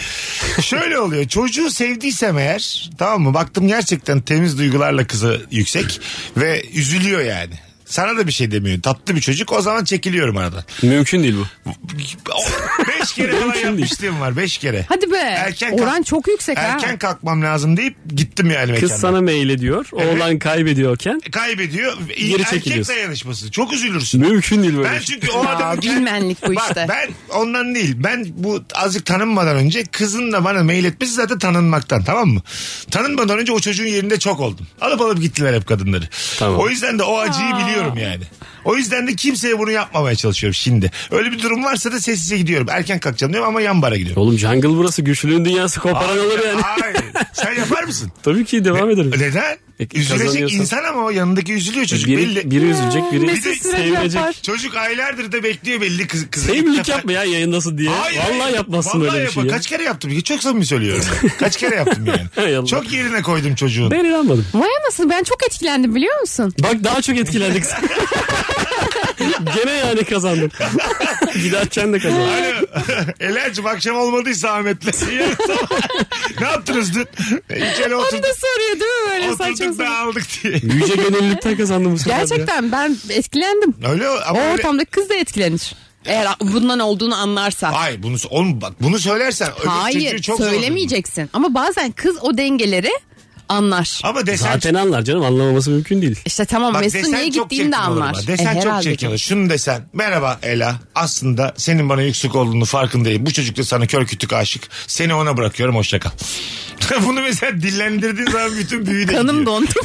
Speaker 3: Şöyle oluyor. Çocuğu sevdiysem eğer tamam mı? Baktım gerçekten temiz duygularla kızı yüksek ve üzülüyor yani. Sana da bir şey demiyor. Tatlı bir çocuk. O zaman çekiliyorum aradan.
Speaker 4: Mümkün değil bu.
Speaker 3: Beş kere falan
Speaker 4: Mümkün değil.
Speaker 3: yapmışlığım var. Beş kere.
Speaker 5: Hadi be.
Speaker 3: Erken
Speaker 5: Oran
Speaker 3: kalk-
Speaker 5: çok yüksek
Speaker 3: Erken
Speaker 5: ha.
Speaker 3: kalkmam lazım deyip gittim yani
Speaker 4: Kız
Speaker 3: mekana.
Speaker 4: sana mail ediyor. Oğlan kaybediyorken
Speaker 3: kaybediyor.
Speaker 4: Geri
Speaker 3: Erkek
Speaker 4: çekiliyorsun.
Speaker 3: dayanışması. Çok üzülürsün.
Speaker 4: mümkün değil böyle.
Speaker 3: Ben
Speaker 4: şey.
Speaker 3: çünkü o
Speaker 5: Ya,
Speaker 3: adamı...
Speaker 5: bilmenlik bu işte.
Speaker 3: Bak ben ondan değil. Ben bu azıcık tanınmadan önce kızın da bana mail etmesi zaten tanınmaktan tamam mı? Tanınmadan önce o çocuğun yerinde çok oldum. Alıp alıp gittiler hep kadınları.
Speaker 4: Tamam.
Speaker 3: O yüzden de o acıyı biliyorum yani. O yüzden de kimseye bunu yapmamaya çalışıyorum şimdi. Öyle bir durum varsa da sessizce gidiyorum. Erken kalkacağım diyorum ama yan bara gidiyorum.
Speaker 4: Oğlum jungle burası güçlüğün dünyası koparan olur yani.
Speaker 3: Ay, sen yapar mısın?
Speaker 4: Tabii ki devam ederim.
Speaker 3: Neden?
Speaker 4: E,
Speaker 3: Üzülecek
Speaker 4: kazanıyorsan.
Speaker 3: insan ama o yanındaki üzülüyor çocuk belli.
Speaker 4: Biri, biri üzülecek biri
Speaker 5: Mesut Süre
Speaker 4: sevinecek.
Speaker 5: yapar.
Speaker 3: Çocuk aylardır da bekliyor belli kız, kızı.
Speaker 4: Sevimlilik yapma ya yayındasın diye. Vallahi yapmazsın
Speaker 3: Vallahi
Speaker 4: öyle bir
Speaker 3: yapma.
Speaker 4: şey ya.
Speaker 3: Kaç kere yaptım? Çok samimi söylüyorum. Kaç kere yaptım
Speaker 4: Hay
Speaker 3: yani.
Speaker 4: Allah.
Speaker 3: Çok yerine koydum çocuğun.
Speaker 4: Ben inanmadım.
Speaker 5: Vay anasını ben çok etkilendim biliyor musun?
Speaker 4: Bak daha çok etkilendik. Gene yani kazandım. Giderken de kazandım.
Speaker 3: Alo. Eler'cim akşam olmadıysa Ahmet'le. Yarın sabah- ne yaptınız dün? E, Hiç öyle
Speaker 5: Onu
Speaker 3: oturduk.
Speaker 5: da soruyor değil mi böyle saçma
Speaker 3: Oturduk da
Speaker 5: sapan?
Speaker 3: aldık diye.
Speaker 4: Yüce gönüllülükten kazandım bu sefer.
Speaker 5: Gerçekten ben etkilendim.
Speaker 3: Öyle ama
Speaker 5: O
Speaker 3: öyle-
Speaker 5: ortamdaki kız da etkilenir. Eğer bundan olduğunu anlarsa.
Speaker 3: Hayır bunu, oğlum bak bunu söylersen. öbür
Speaker 5: Hayır
Speaker 3: çocuğu çok zor-
Speaker 5: söylemeyeceksin. Ama bazen kız o dengeleri anlar.
Speaker 3: Ama desen
Speaker 4: Zaten anlar canım anlamaması mümkün değil.
Speaker 5: İşte tamam
Speaker 3: Bak
Speaker 5: Mesut
Speaker 3: desen
Speaker 5: niye
Speaker 3: çok
Speaker 5: gittiğini de
Speaker 3: çirkin olur
Speaker 5: anlar.
Speaker 3: bak. Desen
Speaker 5: E,
Speaker 3: çok
Speaker 5: herhalde
Speaker 3: çirkin
Speaker 5: canım.
Speaker 3: olur. Şunu desen. Merhaba Ela. Aslında senin bana yüksek olduğunu farkındayım. Bu çocuk da sana kör kütük aşık. Seni ona bırakıyorum. Hoşça kal. Bunu mesela dillendirdiğin zaman bütün büyü de
Speaker 5: Kanım
Speaker 3: gidiyor.
Speaker 5: dondu.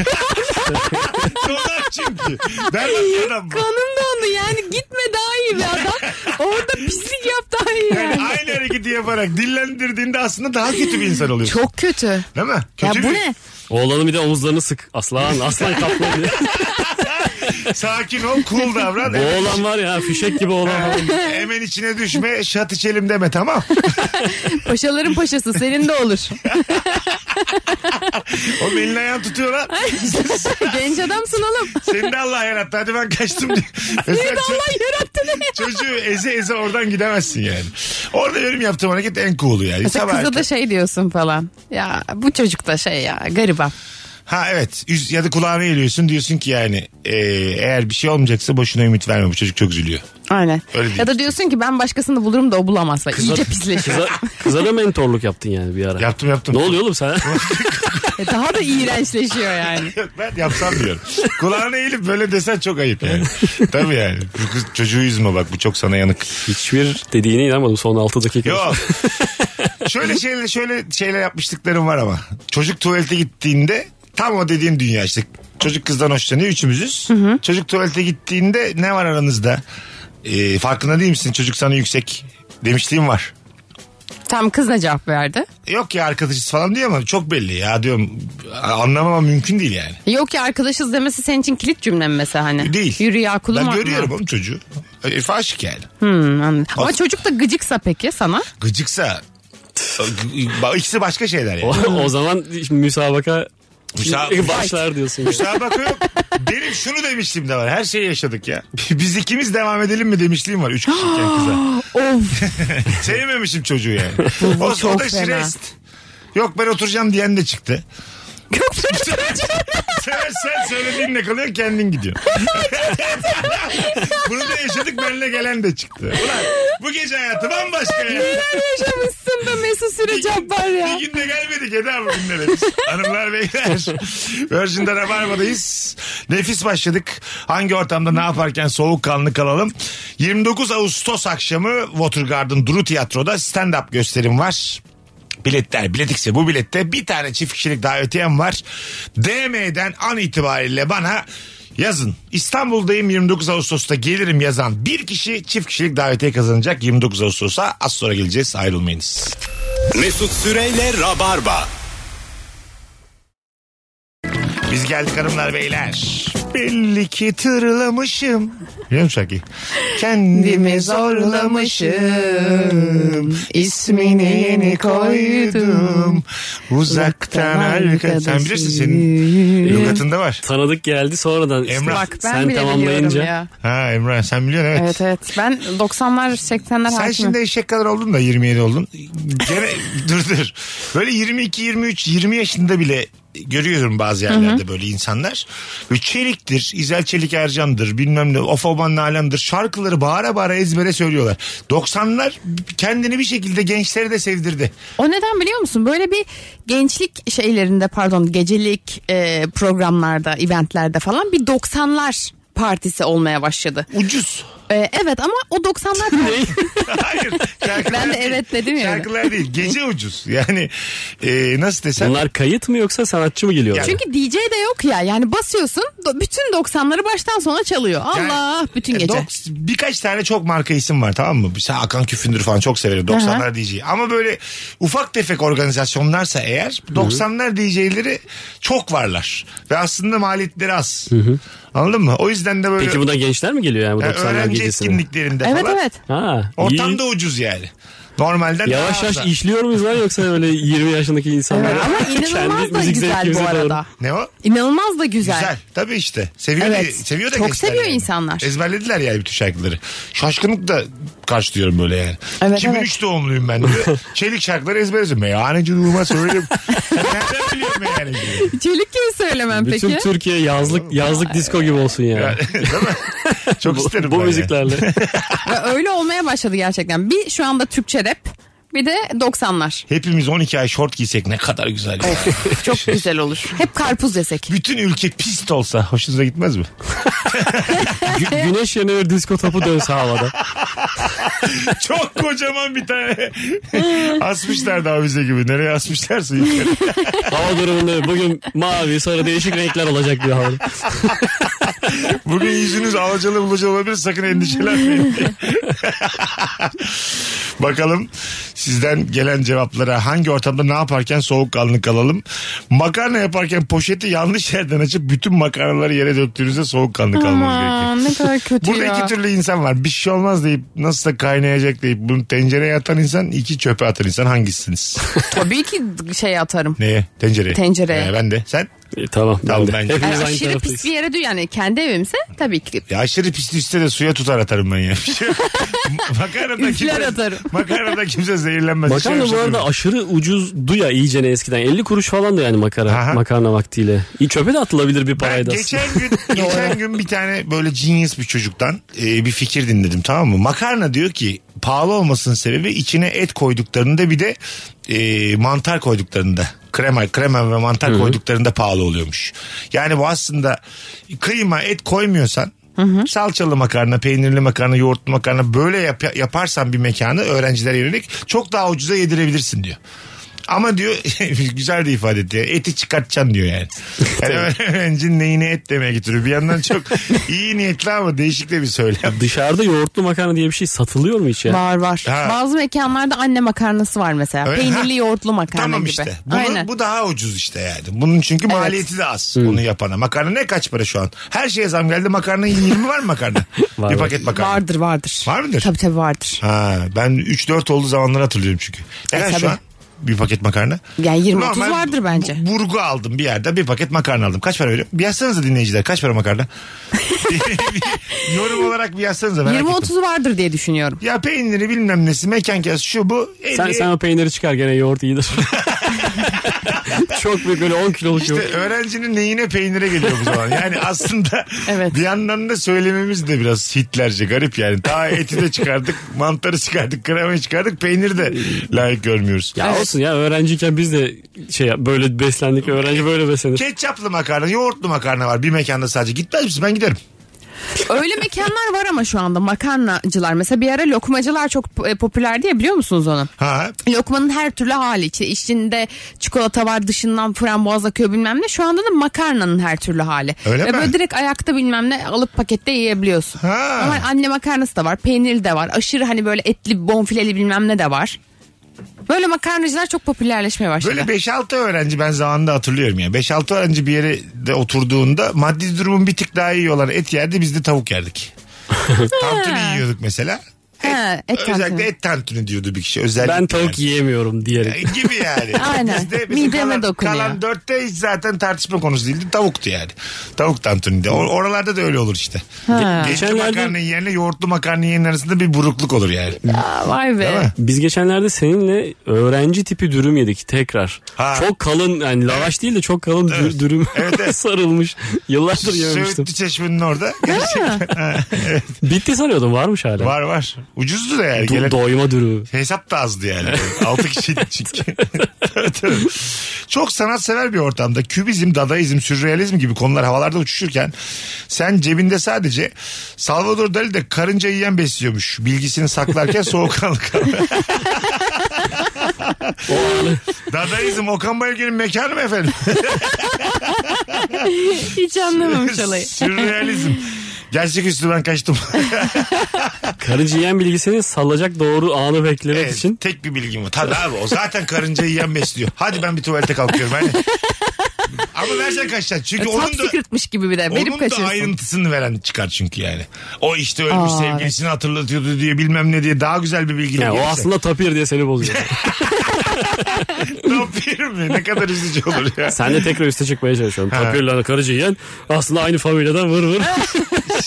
Speaker 3: Donar çünkü. Berbat bir adam bu.
Speaker 5: Kanım dondu yani gitme daha iyi bir adam. Orada pislik yap daha iyi
Speaker 3: Yani
Speaker 5: yani.
Speaker 3: aynı hareketi yaparak dillendirdiğinde aslında daha kötü bir insan oluyorsun.
Speaker 5: Çok kötü.
Speaker 3: Değil mi?
Speaker 5: Ya
Speaker 3: Kötü
Speaker 5: bu
Speaker 3: bir-
Speaker 5: ne?
Speaker 4: Oğlanın bir de omuzlarını sık. Aslan aslan kaplan diye.
Speaker 3: Sakin ol, cool davran. E,
Speaker 4: Bu oğlan var ya fişek gibi oğlan. var.
Speaker 3: Hemen içine düşme, şat içelim deme tamam.
Speaker 5: Paşaların paşası senin de olur.
Speaker 3: O elini ayağını tutuyor lan.
Speaker 5: Genç adamsın oğlum.
Speaker 3: Seni de Allah yarattı. Hadi ben kaçtım diye.
Speaker 5: Seni de
Speaker 3: Mesela
Speaker 5: Allah yarattı ne?
Speaker 3: Çocuğu eze eze oradan gidemezsin yani. Orada benim yaptığım hareket en cool'u yani.
Speaker 5: Mesela
Speaker 3: Sabah
Speaker 5: kıza da
Speaker 3: erken-
Speaker 5: şey diyorsun falan. Ya bu çocuk da şey ya gariban.
Speaker 3: Ha evet Üz- ya da kulağına eğiliyorsun diyorsun ki yani e, eğer bir şey olmayacaksa boşuna ümit verme bu çocuk çok üzülüyor.
Speaker 5: Aynen.
Speaker 3: Öyle değil.
Speaker 5: ya da diyorsun ki ben başkasını bulurum da o bulamazsa. İyice pisleşiyor.
Speaker 4: Kıza, kıza da mentorluk yaptın yani bir ara.
Speaker 3: Yaptım yaptım.
Speaker 4: Ne oluyor oğlum sen?
Speaker 5: E, Daha da iğrençleşiyor yani.
Speaker 3: ben yapsam diyorum. Kulağına eğilip böyle desen çok ayıp yani. Tabii yani. Bu kız- çocuğu üzme bak bu çok sana yanık.
Speaker 4: Hiçbir dediğine inanmadım son 6 dakika.
Speaker 3: Yok. şöyle şeyler şöyle şeyler yapmışlıklarım var ama. Çocuk tuvalete gittiğinde tam o dediğim dünya işte. Çocuk kızdan hoşlanıyor üçümüzüz. Çocuk tuvalete gittiğinde ne var aranızda? Ee, farkında değil misin? Çocuk sana yüksek demişliğim var.
Speaker 5: Tam kız ne cevap verdi?
Speaker 3: Yok ya arkadaşız falan diyor ama çok belli ya diyorum. Anlamama mümkün değil yani.
Speaker 5: Yok ya arkadaşız demesi senin için kilit cümle mi mesela hani?
Speaker 3: Değil.
Speaker 5: Yürü ya kulum
Speaker 3: Ben
Speaker 5: atma.
Speaker 3: görüyorum oğlum çocuğu. Herif aşık yani.
Speaker 5: Hmm, anladım. Ama
Speaker 3: Of.
Speaker 5: çocuk da gıcıksa peki sana?
Speaker 3: Gıcıksa ikisi başka şeyler
Speaker 4: O,
Speaker 3: yani.
Speaker 4: o zaman şimdi müsabaka
Speaker 3: Müsabaka-
Speaker 4: başlar diyorsun. yani.
Speaker 3: Kusura bakma yok. Benim şunu demiştim de var. Her şeyi yaşadık ya. Biz ikimiz devam edelim mi demişliğim var. Üç kişiyken kıza.
Speaker 5: Of
Speaker 3: Sevmemişim çocuğu yani.
Speaker 5: Bu- bu
Speaker 3: o, o
Speaker 5: çok
Speaker 3: da
Speaker 5: fena.
Speaker 3: şirest. Yok ben oturacağım diyen de çıktı. sen, sen söylediğinle kalıyor kendin gidiyor. Bunu da yaşadık benimle gelen de çıktı. Ulan bu gece hayatı bambaşka ya.
Speaker 5: yaşamışsın da Mesut Süre Cabbar
Speaker 3: Bir
Speaker 5: ya.
Speaker 3: günde gelmedik Eda bugünlere biz. Hanımlar beyler. Virgin'de Rabarba'dayız. Nefis başladık. Hangi ortamda ne yaparken soğukkanlı kalalım. 29 Ağustos akşamı Watergarden Duru Tiyatro'da stand-up gösterim var. Biletler biletikse bu bilette bir tane çift kişilik davetiyem var. DM'den an itibariyle bana yazın. İstanbul'dayım 29 Ağustos'ta gelirim yazan bir kişi çift kişilik davetiye kazanacak 29 Ağustos'a az sonra geleceğiz ayrılmayınız.
Speaker 2: Mesut Süreyle Rabarba.
Speaker 3: Biz geldik hanımlar beyler. Belli ki tırlamışım. Biliyor musun şarkıyı? Kendimi zorlamışım. İsmini yeni koydum. Uzaktan arkadaşım. Sen bilirsin senin lügatında var.
Speaker 4: Tanıdık geldi sonradan. işte.
Speaker 3: Emrah.
Speaker 5: Bak ben
Speaker 4: Sen
Speaker 5: bile
Speaker 4: tamamlayınca.
Speaker 5: biliyorum ya.
Speaker 3: Ha Emrah sen biliyorsun evet.
Speaker 5: Evet evet. Ben 90'lar 80'ler
Speaker 3: Sen
Speaker 5: hakimim.
Speaker 3: şimdi eşek kadar oldun da 27 oldun. Gene dur dur. Böyle 22, 23, 20 yaşında bile görüyorum bazı yerlerde böyle insanlar. Böyle Çelik'tir, İzel Çelik Ercan'dır, bilmem ne, Ofoban Nalan'dır. Şarkıları bağıra bağıra ezbere söylüyorlar. 90'lar kendini bir şekilde gençlere de sevdirdi.
Speaker 5: O neden biliyor musun? Böyle bir gençlik şeylerinde pardon gecelik e, programlarda, eventlerde falan bir 90'lar partisi olmaya başladı.
Speaker 3: Ucuz.
Speaker 5: E, evet ama o 90'lar partisi-
Speaker 3: Hayır. şarkılar
Speaker 5: Ben de
Speaker 3: değil.
Speaker 5: evet dedim ya.
Speaker 3: Şarkılar değil. Gece ucuz. Yani e, nasıl desem.
Speaker 4: Bunlar kayıt mı yoksa sanatçı mı geliyor?
Speaker 5: Çünkü DJ de yok ya. Yani basıyorsun do- bütün 90'ları baştan sona çalıyor.
Speaker 3: Yani- e,
Speaker 5: Allah bütün gece.
Speaker 3: Doks- birkaç tane çok marka isim var tamam mı? Mesela Hakan Küfündür falan çok severim 90'lar DJ. Ama böyle ufak tefek organizasyonlarsa eğer 90'lar DJ'leri çok varlar. Ve aslında maliyetleri az. Anladın mı? O yüzden de böyle
Speaker 4: Peki buna gençler mi geliyor yani bu
Speaker 3: yani
Speaker 4: 90'lar
Speaker 3: öğrenci
Speaker 4: gecesine?
Speaker 3: etkinliklerinde
Speaker 5: evet
Speaker 3: falan.
Speaker 5: evet.
Speaker 4: Ha,
Speaker 3: Ortam
Speaker 4: iyi.
Speaker 3: da ucuz yani. Normalden daha
Speaker 4: Yavaş yavaş
Speaker 3: az.
Speaker 4: işliyor muyuz lan yoksa öyle 20 yaşındaki insanlar?
Speaker 5: Evet, Ee, ama inanılmaz da güzel bu arada.
Speaker 3: Ne o?
Speaker 5: İnanılmaz da güzel.
Speaker 3: Güzel. Tabii işte. Seviyor,
Speaker 5: Evet.
Speaker 3: da- seviyor da
Speaker 5: Çok
Speaker 3: gençler
Speaker 5: seviyor
Speaker 3: yani.
Speaker 5: insanlar.
Speaker 3: Ezberlediler yani bütün şarkıları. Şaşkınlık da karşılıyorum böyle yani.
Speaker 5: Evet,
Speaker 3: 2003 doğumluyum ben diyor. Çelik şarkıları ezberledim. Meyhaneci ruhuma söyleyeyim. Nereden biliyorum meyhaneci?
Speaker 5: Çelik gibi söylemem
Speaker 4: Bütün
Speaker 5: peki.
Speaker 4: Türkiye yazlık yazlık disco gibi olsun ya.
Speaker 3: Değil mi? Çok
Speaker 4: bu,
Speaker 3: isterim
Speaker 4: bu
Speaker 3: ben yani.
Speaker 4: müziklerle.
Speaker 5: Ve Öyle olmaya başladı gerçekten. Bir şu anda Türkçe rap bir de 90'lar.
Speaker 3: Hepimiz 12 ay şort giysek ne kadar güzel. ya.
Speaker 5: Çok güzel olur. Hep karpuz desek.
Speaker 3: Bütün ülke pist olsa hoşunuza gitmez mi?
Speaker 4: Gü- güneş yanıyor disco topu dönse havada.
Speaker 3: Çok kocaman bir tane. asmışlar da bize gibi. Nereye asmışlarsa yukarı.
Speaker 4: Hava durumunda bugün mavi sonra değişik renkler olacak diyor havada.
Speaker 3: Bugün yüzünüz alacalı bulacalı olabilir sakın endişelenmeyin. Bakalım sizden gelen cevaplara hangi ortamda ne yaparken soğukkanlı kalalım. Makarna yaparken poşeti yanlış yerden açıp bütün makarnaları yere döktüğünüzde soğukkanlı kalmanız gerekiyor.
Speaker 5: Aman ne kadar kötü
Speaker 3: Burada
Speaker 5: ya.
Speaker 3: iki türlü insan var. Bir şey olmaz deyip nasıl da kaynayacak deyip bunu tencereye atan insan iki çöpe atan insan hangisiniz?
Speaker 5: Tabii ki şey atarım.
Speaker 3: Neye? Tencereye.
Speaker 5: Tencereye.
Speaker 3: Ee, ben de. Sen?
Speaker 4: E, tamam. ben
Speaker 3: Tamam,
Speaker 4: de.
Speaker 3: bence.
Speaker 5: Yani
Speaker 4: Hepimiz aynı
Speaker 5: aşırı pis
Speaker 4: taraftayız.
Speaker 5: bir yere diyor yani kendi evimse tabii ki.
Speaker 3: Ya aşırı pisli üstte de suya tutar atarım ben ya. makarnada
Speaker 5: Üfler
Speaker 3: kimse,
Speaker 5: atarım.
Speaker 3: makarnada kimse zehirlenmez.
Speaker 4: Makarna
Speaker 3: Hiç
Speaker 4: bu
Speaker 3: öyle
Speaker 4: arada
Speaker 3: şey
Speaker 4: aşırı ucuzdu ya iyicene eskiden. 50 kuruş falan da yani makara,
Speaker 3: Aha.
Speaker 4: makarna vaktiyle. İyi çöpe de atılabilir bir
Speaker 3: Ben
Speaker 4: parayla aslında.
Speaker 3: geçen gün geçen gün bir tane böyle genius bir çocuktan e, bir fikir dinledim tamam mı? Makarna diyor ki pahalı olmasının sebebi içine et koyduklarında bir de e, mantar koyduklarında krema krema ve mantar koyduklarında pahalı oluyormuş. Yani bu aslında kıyma et koymuyorsan Salçalı makarna, peynirli makarna, yoğurtlu makarna böyle yap- yaparsan bir mekanı öğrencilere yönelik çok daha ucuza yedirebilirsin diyor. Ama diyor güzel de ifade etti. Eti çıkartacaksın diyor yani. yani öğrencinin neyine et demeye getiriyor. Bir yandan çok iyi niyetli ama değişik de bir söylem.
Speaker 4: Dışarıda yoğurtlu makarna diye bir şey satılıyor mu hiç ya?
Speaker 5: Var var.
Speaker 3: Ha.
Speaker 5: Bazı mekanlarda anne makarnası var mesela.
Speaker 3: Öyle,
Speaker 5: Peynirli
Speaker 3: ha.
Speaker 5: yoğurtlu makarna
Speaker 3: Tamam
Speaker 5: gibi.
Speaker 3: işte. Bunu-
Speaker 5: Aynen.
Speaker 3: Bu daha ucuz işte yani. Bunun çünkü
Speaker 5: Evet.
Speaker 3: maliyeti de az.
Speaker 4: Hmm.
Speaker 3: Onu yapana. Makarna ne kaç para şu an? Her şeye zam geldi. Makarna 20 var mı makarna?
Speaker 4: Var,
Speaker 3: bir
Speaker 4: var.
Speaker 3: paket makarna.
Speaker 5: Vardır vardır.
Speaker 3: Var mıdır?
Speaker 5: Tabii tabii vardır.
Speaker 3: Ha, ben 3-4 olduğu zamanları hatırlıyorum çünkü. Ne
Speaker 5: E,
Speaker 3: kadar şu
Speaker 5: tabii.
Speaker 3: an? Bir paket makarna.
Speaker 5: Yani 20-30
Speaker 3: Normal
Speaker 5: vardır bence.
Speaker 3: bu- Burgu aldım bir yerde bir paket makarna aldım. Kaç para veriyorum? Bir yazsanıza dinleyiciler kaç para makarna? Bir Yorum olarak bir yazsanıza merak ettim.
Speaker 5: 20-30 vardır diye düşünüyorum.
Speaker 3: Ya peyniri bilmem nesi mekan kez şu bu.
Speaker 4: Sen,
Speaker 3: 50.
Speaker 4: sen o peyniri çıkar gene yoğurt iyidir. Çok büyük böyle 10 kiloluk
Speaker 3: İşte
Speaker 4: yoğurt.
Speaker 3: öğrencinin neyine peynire geliyor bu zaman. Yani aslında
Speaker 5: Evet.
Speaker 3: bir yandan da söylememiz de biraz Hitlerce garip yani. Daha eti de çıkardık, mantarı çıkardık, kremayı çıkardık, peyniri de layık görmüyoruz.
Speaker 4: Ya olsun ya öğrenciyken biz de şey yap- böyle beslendik öğrenci böyle beslenir.
Speaker 3: Ketçaplı makarna, yoğurtlu makarna var bir mekanda sadece. Gitmez misin? Ben giderim.
Speaker 5: Öyle mekanlar var ama şu anda makarnacılar. Mesela bir ara lokmacılar çok e, popüler diye biliyor musunuz onu?
Speaker 3: Ha.
Speaker 5: Lokmanın her türlü hali işte içinde çikolata var dışından frambuaz akıyor bilmem ne. Şu anda da makarnanın her türlü hali.
Speaker 3: Öyle
Speaker 5: Ve
Speaker 3: mi?
Speaker 5: böyle direkt ayakta bilmem ne alıp pakette yiyebiliyorsun.
Speaker 3: Ha.
Speaker 5: Ama anne makarnası da var peynirli de var aşırı hani böyle etli bonfileli bilmem ne de var. Böyle makarnacılar çok popülerleşmeye başladı.
Speaker 3: Böyle 5-6 öğrenci ben zamanında hatırlıyorum ya. 5-6 öğrenci bir yere de oturduğunda maddi durumun bir tık daha iyi olan et yerdi biz de tavuk yerdik. tantuni yiyorduk mesela.
Speaker 5: He, et
Speaker 3: Özellikle
Speaker 5: tantuni.
Speaker 3: et tantuni diyordu bir kişi. Özellikle
Speaker 4: Ben
Speaker 3: yani. E,
Speaker 4: tavuk yiyemiyorum diyerek.
Speaker 3: gibi yani.
Speaker 5: Aynen.
Speaker 3: Bizde bizim
Speaker 5: Mideme
Speaker 3: kalan,
Speaker 5: dokunuyor.
Speaker 3: Kalan dörtte hiç zaten tartışma konusu değildi. Tavuktu yani. Tavuk tantuninde. O- Oralarda da öyle olur işte. Geçenlerde...
Speaker 4: Geçenlerde-
Speaker 3: makarna yerine yoğurtlu makarna yiyenin arasında bir burukluk olur yani.
Speaker 5: Aa, vay
Speaker 3: Değil
Speaker 5: be.
Speaker 3: mi?
Speaker 4: Biz geçenlerde seninle öğrenci tipi dürüm yedik tekrar.
Speaker 3: Ha.
Speaker 4: Çok kalın yani lavaş değil de çok kalın dü-
Speaker 3: Evet.
Speaker 4: dürüm
Speaker 3: Evet, evet.
Speaker 4: sarılmış. Yıllardır yememiştim.
Speaker 3: Söğütlü çeşmenin orada.
Speaker 4: Bitti sanıyordum varmış hala.
Speaker 3: var var. Ucuzdu da yani.
Speaker 4: Du-
Speaker 3: Gelen-
Speaker 4: doyma dürümü.
Speaker 3: Hesap da azdı yani. 6 kişiydik çünkü. Tabii, tabii. Çok sanatsever bir ortamda kübizm, dadaizm, sürrealizm gibi konular havalarda uçuşurken sen cebinde sadece Salvador Dali de karınca yiyen besliyormuş. Bilgisini saklarken soğukkanlı kaldı. dadaizm Okan Bayülgen'in mekanı mı efendim?
Speaker 5: Hiç anlamamış olayı.
Speaker 3: Sürrealizm. Gerçeküstü ben kaçtım.
Speaker 4: Karınca yiyen bilgisini salacak doğru anı beklemek
Speaker 3: Evet,
Speaker 4: için.
Speaker 3: Tek bir bilgim var. Tabii abi o zaten karınca yiyen besliyor. Hadi ben bir tuvalete kalkıyorum. Hani. Ama nereden kaçacaksın? Çünkü
Speaker 5: E, Top
Speaker 3: onun da,
Speaker 5: secretmiş gibi bir de. Verip
Speaker 3: onun da
Speaker 5: kaçırsın.
Speaker 3: ayrıntısını veren çıkar çünkü yani. O işte ölmüş
Speaker 5: Aa,
Speaker 3: sevgilisini hatırlatıyordu diye bilmem ne diye daha güzel bir bilgi.
Speaker 4: Yani o aslında tapir diye seni bozuyor.
Speaker 3: ne yapıyorum ya? Ne kadar üzücü olur ya.
Speaker 4: Sen de tekrar üste çıkmaya çalışıyorum.
Speaker 3: Ha.
Speaker 4: Tapirle karıcı yiyen aslında aynı familyadan vır vır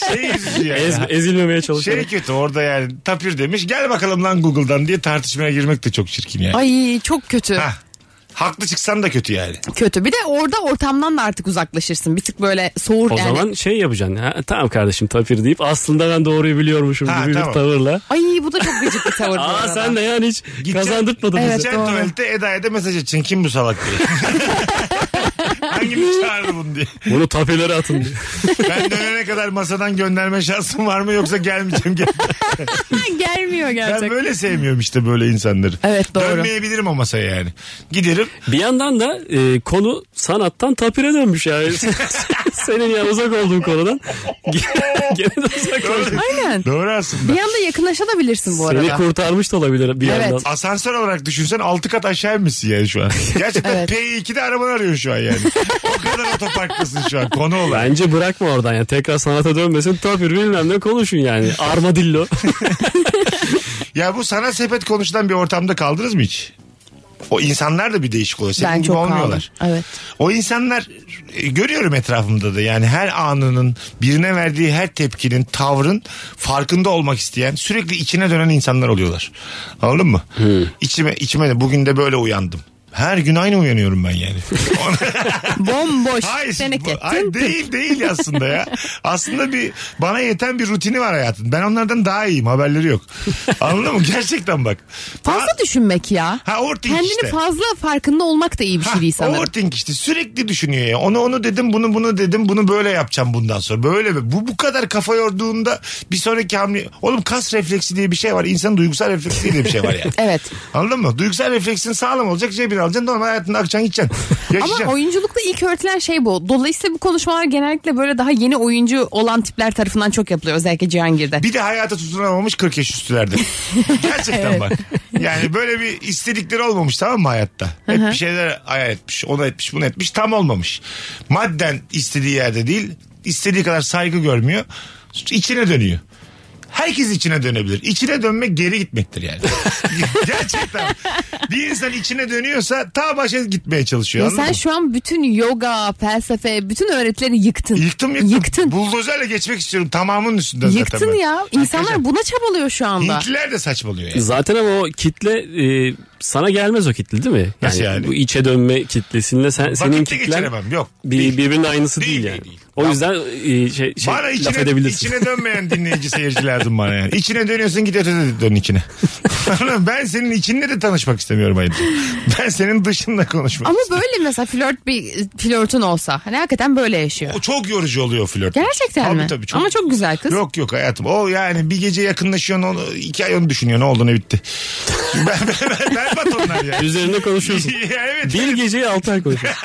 Speaker 3: Şey üzücü yani.
Speaker 4: ez, ezilmemeye çalışıyorum.
Speaker 3: Şey kötü orada yani tapir demiş gel bakalım lan Google'dan diye tartışmaya girmek de çok çirkin yani.
Speaker 5: Ay çok kötü.
Speaker 3: Hah. Haklı çıksan da kötü yani.
Speaker 5: Kötü. Bir de orada ortamdan da artık uzaklaşırsın. Bir tık böyle soğur
Speaker 4: o
Speaker 5: yani.
Speaker 4: zaman şey yapacaksın. Ha, tamam kardeşim tapir deyip aslında ben doğruyu biliyormuşum
Speaker 3: Ha,
Speaker 4: gibi
Speaker 3: tamam.
Speaker 4: bir tavırla.
Speaker 5: Ay bu da çok gıcık bir tavır bu
Speaker 4: Aa
Speaker 5: arada.
Speaker 4: sen de yani hiç
Speaker 3: Gideceksin-
Speaker 4: kazandırtmadın
Speaker 5: Evet,
Speaker 4: bizi.
Speaker 5: doğru.
Speaker 3: Geçen tuvalette Eda'ya da mesaj edeceksin. Kim bu salak diye. Hangimiz çağırdı bunu diye.
Speaker 4: Bunu tapirlere atın diye.
Speaker 3: Ben dönene kadar masadan gönderme şansım var mı yoksa gelmeyeceğim. Gel.
Speaker 5: Gelmiyor
Speaker 3: Ben
Speaker 5: gerçekten.
Speaker 3: böyle sevmiyorum işte böyle insanları.
Speaker 5: Evet, doğru.
Speaker 3: Dönmeyebilirim o masaya yani. Giderim.
Speaker 4: Bir yandan da e, konu sanattan tapire dönmüş yani. Senin ya uzak olduğun konudan. Gene de uzak olmuş.
Speaker 5: Aynen.
Speaker 3: Doğru aslında.
Speaker 5: Bir anda yakınlaşabilirsin bu arada.
Speaker 4: Seni kurtarmış da olabilir bir
Speaker 5: Evet.
Speaker 4: yandan.
Speaker 3: Asansör olarak düşünsen 6 kat aşağı inmişsin yani şu an. Gerçekten
Speaker 5: Evet.
Speaker 3: P2'de arabanı arıyor şu an yani. o kadar otoparklısın şu an konu olarak.
Speaker 4: Bence bırakma oradan ya. Tekrar sanata dönmesin. Tapir bilmem ne konuşun yani. Armadillo.
Speaker 3: Ya bu sanat sepet konuşulan bir ortamda kaldınız mı hiç? O insanlar da bir değişik oluyor. Senin
Speaker 5: Ben
Speaker 3: gibi
Speaker 5: çok kaldım.
Speaker 3: olmuyorlar.
Speaker 5: Evet.
Speaker 3: O insanlar e, görüyorum etrafımda da yani her anının birine verdiği her tepkinin tavrın farkında olmak isteyen sürekli içine dönen insanlar oluyorlar. Anladın mı? İçime, içime de bugün de böyle uyandım. Her gün aynı uyanıyorum ben yani.
Speaker 5: Bomboş. Teneke.
Speaker 3: bu- hayır,
Speaker 5: Tın tın.
Speaker 3: değil değil aslında ya. Aslında bir bana yeten bir rutini var hayatın. Ben onlardan daha iyiyim haberleri yok. Anladın mı? Gerçekten bak.
Speaker 5: Fazla düşünmek ya.
Speaker 3: Ha, overthink
Speaker 5: Kendini
Speaker 3: işte.
Speaker 5: fazla farkında olmak da iyi bir şey değil
Speaker 3: Ha,
Speaker 5: sanırım.
Speaker 3: Overthink işte sürekli düşünüyor ya. Onu onu dedim bunu bunu dedim bunu böyle yapacağım bundan sonra. Böyle bu bu kadar kafa yorduğunda bir sonraki hamle oğlum kas refleksi diye bir şey var. İnsanın duygusal refleksi diye bir şey var yani.
Speaker 5: Evet.
Speaker 3: Anladın mı? Duygusal refleksin sağlam olacak cebine Ehliyetini alacaksın. Normal hayatında akacaksın gideceksin. Yaşayacaksın.
Speaker 5: Ama oyunculukta ilk öğretilen şey bu. Dolayısıyla bu konuşmalar genellikle böyle daha yeni oyuncu olan tipler tarafından çok yapılıyor. Özellikle Cihangir'de.
Speaker 3: Bir de hayata tutunamamış 40 yaş üstülerde. Gerçekten bak. Yani böyle bir istedikleri olmamış tamam mı hayatta? Hep bir şeyler hayal etmiş. Onu etmiş bunu etmiş tam olmamış. Madden istediği yerde değil. istediği kadar saygı görmüyor. İçine dönüyor. Herkes içine dönebilir. İçine dönmek geri gitmektir yani. Gerçekten. Bir insan içine dönüyorsa ta başa gitmeye çalışıyor.
Speaker 5: Ya
Speaker 3: anladın
Speaker 5: sen
Speaker 3: mı?
Speaker 5: şu an bütün yoga, felsefe, bütün öğretileri yıktın.
Speaker 3: Yıktım yıktım.
Speaker 5: Yıktın.
Speaker 3: Buldozerle geçmek istiyorum tamamının üstünden zaten.
Speaker 5: Yıktın
Speaker 3: ben.
Speaker 5: ya. İnsanlar buna çabalıyor şu anda.
Speaker 3: Hintliler de saçmalıyor yani.
Speaker 4: Zaten ama o kitle e, sana gelmez o kitle değil mi? Yani
Speaker 3: Nasıl yani?
Speaker 4: Bu içe dönme kitlesinle sen, senin
Speaker 3: Vakitte
Speaker 4: kitlen
Speaker 3: geçiremem yok.
Speaker 4: bir, birbirinin aynısı
Speaker 3: Değil,
Speaker 4: değil,
Speaker 3: değil,
Speaker 4: yani.
Speaker 3: değil.
Speaker 4: O yüzden e, şey, şey,
Speaker 3: bana
Speaker 4: laf
Speaker 3: içine,
Speaker 4: edebilirsin.
Speaker 3: içine dönmeyen dinleyici seyirci lazım bana yani. İçine dönüyorsun git ötede dön içine. ben senin içinle de tanışmak istemiyorum ayrıca. Ben senin dışında konuşmak
Speaker 5: Ama böyle mesela flört bir flörtün olsa. Hani hakikaten böyle yaşıyor.
Speaker 3: O çok yorucu oluyor flört.
Speaker 5: Gerçekten
Speaker 3: Tabii
Speaker 5: mi?
Speaker 3: tabii,
Speaker 5: Ama çok güzel kız.
Speaker 3: Yok yok hayatım. O yani bir gece yakınlaşıyorsun onu iki ay onu düşünüyor ne oldu ne bitti. ben, ben, ben, berbat onlar yani.
Speaker 4: Üzerine konuşuyorsun.
Speaker 3: Ya evet.
Speaker 4: bir geceyi altı ay konuşuyorsun.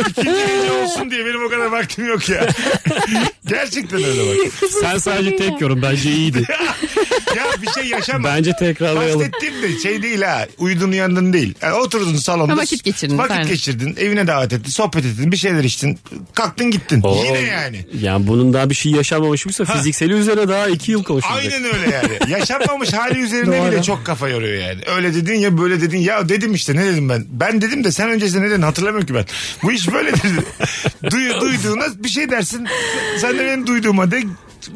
Speaker 3: İkinci gece olsun diye benim o kadar vaktim yok ya. Gerçekten öyle bak.
Speaker 4: sen sadece tek yorum bence iyiydi.
Speaker 3: Ya bir şey yaşama.
Speaker 4: Bence tekrarlayalım.
Speaker 3: Bahsettiğim de şey değil ha. Uyudun uyandın değil. Yani oturdun salonda.
Speaker 5: Ha, vakit geçirdin,
Speaker 3: Vakit
Speaker 5: aynen.
Speaker 3: geçirdin. Evine davet ettin. Sohbet ettin. Bir şeyler içtin. Kalktın gittin.
Speaker 4: Oo.
Speaker 3: Yine yani.
Speaker 4: Yani bunun daha bir şey yaşanmamışsa fizikseli üzerine daha iki yıl konuşulacak.
Speaker 3: Aynen öyle yani. Yaşanmamış hali üzerine bile çok kafa yoruyor yani. Öyle dedin ya böyle dedin. Ya dedim işte ne dedim ben. Ben dedim de sen öncesinde ne dedin hatırlamıyorum ki ben. Bu iş böyle dedi. Duy, duyduğuna bir şey dersin. Sen de benim duyduğuma de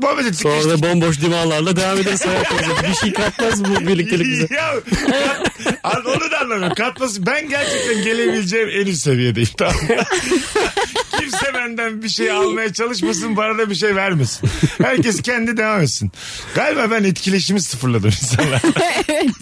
Speaker 3: muhabbet ettik.
Speaker 4: Sonra
Speaker 3: geçtik.
Speaker 4: da bomboş divanlarla devam ederiz hayatımıza. Bir şey katmaz bu birliktelik bize.
Speaker 3: Ya, kat- onu da anlamıyorum. Katması ben gerçekten gelebileceğim en üst seviyedeyim tamam mı? Kimse benden bir şey almaya çalışmasın bana da bir şey vermesin. Herkes kendi devam etsin. Galiba ben etkileşimi sıfırladım insanlar.
Speaker 5: evet.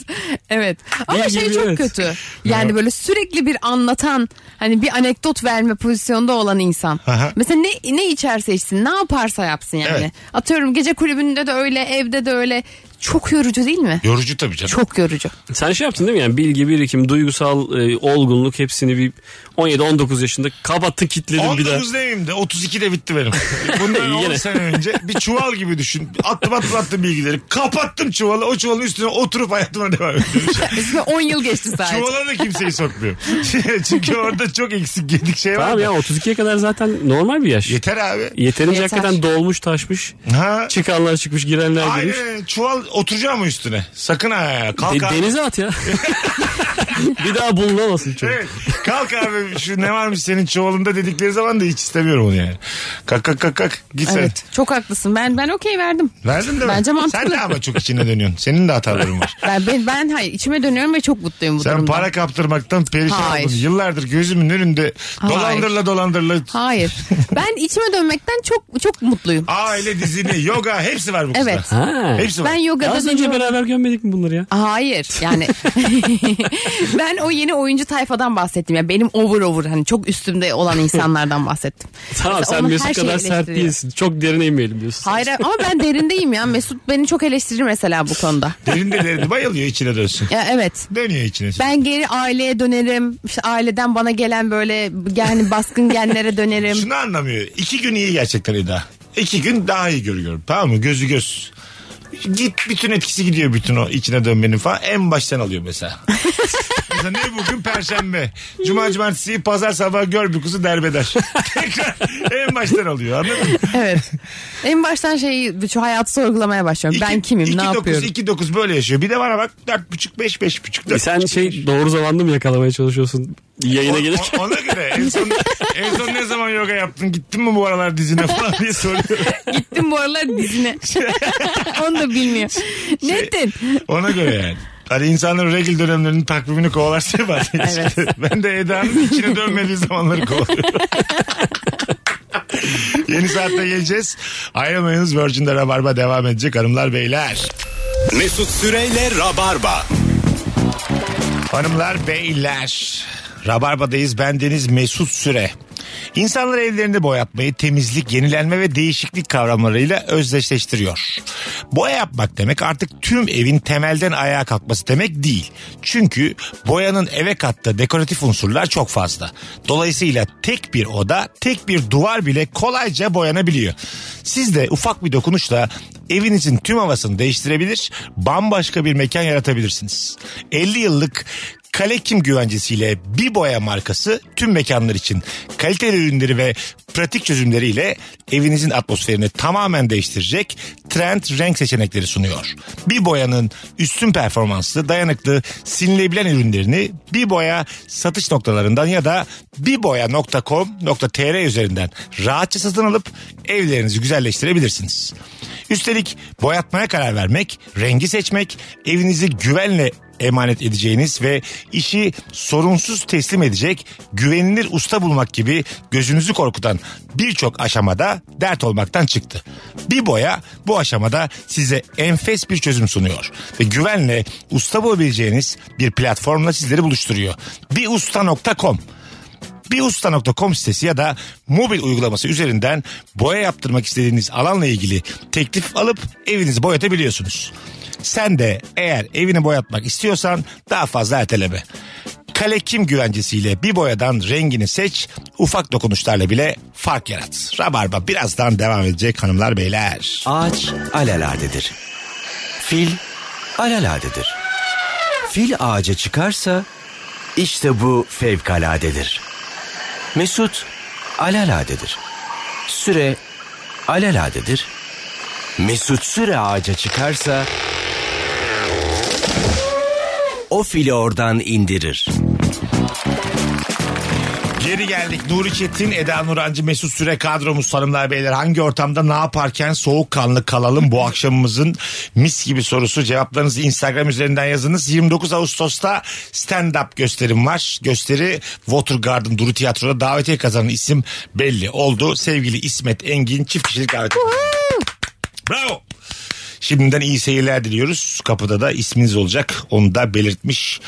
Speaker 5: Evet. Ama
Speaker 4: Bir
Speaker 5: şey
Speaker 4: gibi
Speaker 5: çok
Speaker 4: evet.
Speaker 5: kötü. Yani böyle sürekli bir anlatan hani bir anekdot verme pozisyonda olan insan.
Speaker 3: Aha.
Speaker 5: Mesela ne ne içerse içsin, ne yaparsa yapsın yani.
Speaker 3: Evet.
Speaker 5: Atıyorum gece kulübünde de öyle, evde de öyle. Çok yorucu değil mi?
Speaker 3: Yorucu tabii canım.
Speaker 5: Çok yorucu.
Speaker 4: Sen şey yaptın değil mi yani bilgi birikim, duygusal e, olgunluk hepsini bir 17-19 yaşında kapattın kitledin bir daha.
Speaker 3: 19 demeyeyim de 32 de bitti benim. Bundan
Speaker 4: İyi
Speaker 3: 10
Speaker 4: gene.
Speaker 3: sene önce bir çuval gibi düşün. Attım attım attım bilgileri. Kapattım çuvalı. O çuvalın üstüne oturup hayatıma devam ediyorum.
Speaker 5: Üstüne 10 yıl geçti sadece.
Speaker 3: Çuvala da kimseyi sokmuyor. Çünkü orada çok eksik gedik şey var.
Speaker 4: Tamam
Speaker 3: da.
Speaker 4: ya 32'ye kadar zaten normal bir yaş.
Speaker 3: Yeter abi.
Speaker 4: Yeterince
Speaker 5: Yeter.
Speaker 4: hakikaten dolmuş taşmış.
Speaker 3: Ha.
Speaker 4: Çıkanlar çıkmış girenler girmiş.
Speaker 3: Aynen çuval oturacağım mı üstüne? Sakın ha. Kalk
Speaker 4: De-
Speaker 3: abi.
Speaker 4: E, denize at ya. bir daha bulunamasın çok.
Speaker 3: Evet. Kalk abi şu ne varmış senin çuvalında dedikleri zaman da hiç istemiyorum onu yani. Kalk kalk kalk kalk. Git sen.
Speaker 5: Evet. Çok haklısın. Ben ben okey verdim.
Speaker 3: Verdin değil mi?
Speaker 5: Bence mantıklı.
Speaker 3: Sen de ama çok içine dönüyorsun. Senin de hataların var.
Speaker 5: Ben, ben, ben hayır içime dönüyorum ve çok mutluyum bu
Speaker 3: Sen
Speaker 5: durumda.
Speaker 3: para kaptırmaktan perişan
Speaker 5: Hayır.
Speaker 3: oldun. Yıllardır gözümün önünde
Speaker 5: Hayır.
Speaker 3: dolandırla dolandırla
Speaker 5: Hayır. ben içime dönmekten çok çok mutluyum.
Speaker 3: aile dizini, yoga hepsi var bu kızda.
Speaker 5: Evet.
Speaker 4: Ha.
Speaker 3: Hepsi var.
Speaker 5: Ben yogada
Speaker 4: Az önce
Speaker 5: dönüyorum.
Speaker 4: beraber gömmedik mi bunları ya?
Speaker 5: Hayır yani ben o yeni oyuncu tayfadan bahsettim. Yani benim over over hani çok üstümde olan insanlardan bahsettim.
Speaker 4: Tamam
Speaker 5: Mesela
Speaker 4: sen
Speaker 5: onun
Speaker 4: Mesut
Speaker 5: her şeyi
Speaker 4: kadar sert
Speaker 5: eleştiriyor.
Speaker 4: değilsin. Çok derine inmeyelim diyorsun.
Speaker 5: Hayır ama ben derindeyim ya. Mesut beni çok eleştirir mesela bu konuda.
Speaker 3: Derinde derinde bayılıyor içine dönsün.
Speaker 5: Ya evet.
Speaker 3: Dönüyor içine.
Speaker 5: Ben geri aileye dönerim. İşte aileden bana gelen böyle yani baskın genlere dönerim.
Speaker 3: Şunu anlamıyor. İki gün iyi gerçekten Eda. İki gün daha iyi görüyorum. Tamam mı? Gözü göz. Git bütün etkisi gidiyor bütün o içine dönmenin falan. En baştan alıyor mesela. mesela ne bugün perşembe. Cuma cumartesi pazar sabah gör bir kuzu derbeder. Tekrar en baştan alıyor anladın mı?
Speaker 5: Evet. En baştan şeyi şu hayatı sorgulamaya başlıyorum. ben kimim? ne yapıyorum?
Speaker 3: 2-9 böyle yaşıyor. Bir de bana bak 4,5 5,5
Speaker 4: E Sen şey doğru zamanda mı yakalamaya çalışıyorsun yayına gelirken?
Speaker 3: Ona göre en son, en son ne zaman yoga yaptın gittin mi bu aralar dizine falan diye soruyorum.
Speaker 5: Gittim bu aralar dizine. Onu da bilmiyor. Ne ettin?
Speaker 3: Ona göre yani. Hani insanların regl dönemlerinin takvimini kovalarsa var. ben de Eda'nın içine dönmediği zamanları kovalıyorum. Yeni saatte geleceğiz. Ayrılmayınız Virgin'de Rabarba devam edecek hanımlar beyler.
Speaker 2: Mesut Süreyle Rabarba.
Speaker 3: Hanımlar beyler. Rabarba'dayız. Ben Deniz Mesut Süre. İnsanları evlerinde boyatmayı temizlik, yenilenme ve değişiklik kavramlarıyla özdeşleştiriyor. Boya yapmak demek artık tüm evin temelden ayağa kalkması demek değil. Çünkü boyanın eve kattığı dekoratif unsurlar çok fazla. Dolayısıyla tek bir oda, tek bir duvar bile kolayca boyanabiliyor. Siz de ufak bir dokunuşla evinizin tüm havasını değiştirebilir, bambaşka bir mekan yaratabilirsiniz. 50 yıllık Kalekim güvencesiyle bir boya markası tüm mekanlar için kaliteli ürünleri ve pratik çözümleriyle evinizin atmosferini tamamen değiştirecek trend renk seçenekleri sunuyor. Bir boyanın üstün performanslı, dayanıklı, sinilebilen ürünlerini bir boya satış noktalarından ya da birboya.com.tr üzerinden rahatça satın alıp evlerinizi güzelleştirebilirsiniz. Üstelik boyatmaya karar vermek, rengi seçmek, evinizi güvenle emanet edeceğiniz ve işi sorunsuz teslim edecek güvenilir usta bulmak gibi gözünüzü korkutan birçok aşamada dert olmaktan çıktı. Bir boya bu aşamada size enfes bir çözüm sunuyor ve güvenle usta bulabileceğiniz bir platformla sizleri buluşturuyor. Birusta.com birusta.com sitesi ya da mobil uygulaması üzerinden boya yaptırmak istediğiniz alanla ilgili teklif alıp evinizi boyatabiliyorsunuz. Sen de eğer evini boyatmak istiyorsan daha fazla erteleme. Kalekim güvencesiyle bir boyadan rengini seç, ufak dokunuşlarla bile fark yarat. Rabarba birazdan devam edecek hanımlar beyler.
Speaker 7: Ağaç alaladedir. Fil alaladedir. Fil ağaca çıkarsa işte bu fevkaladedir. Mesut alaladedir. Süre alaladedir. Mesut Süre ağaca çıkarsa o fili oradan indirir.
Speaker 3: Geri geldik. Nuri Çetin, Eda Nurancı, Mesut Süre kadromuz hanımlar beyler. Hangi ortamda ne yaparken soğukkanlı kalalım bu akşamımızın mis gibi sorusu. Cevaplarınızı Instagram üzerinden yazınız. 29 Ağustos'ta stand-up gösterim var. Gösteri Watergarden Duru Tiyatro'da davetiye kazanan isim belli oldu. Sevgili İsmet Engin çift kişilik davetiye. Bravo. Şimdiden iyi seyirler diliyoruz. Kapıda da isminiz olacak. Onu da belirtmiş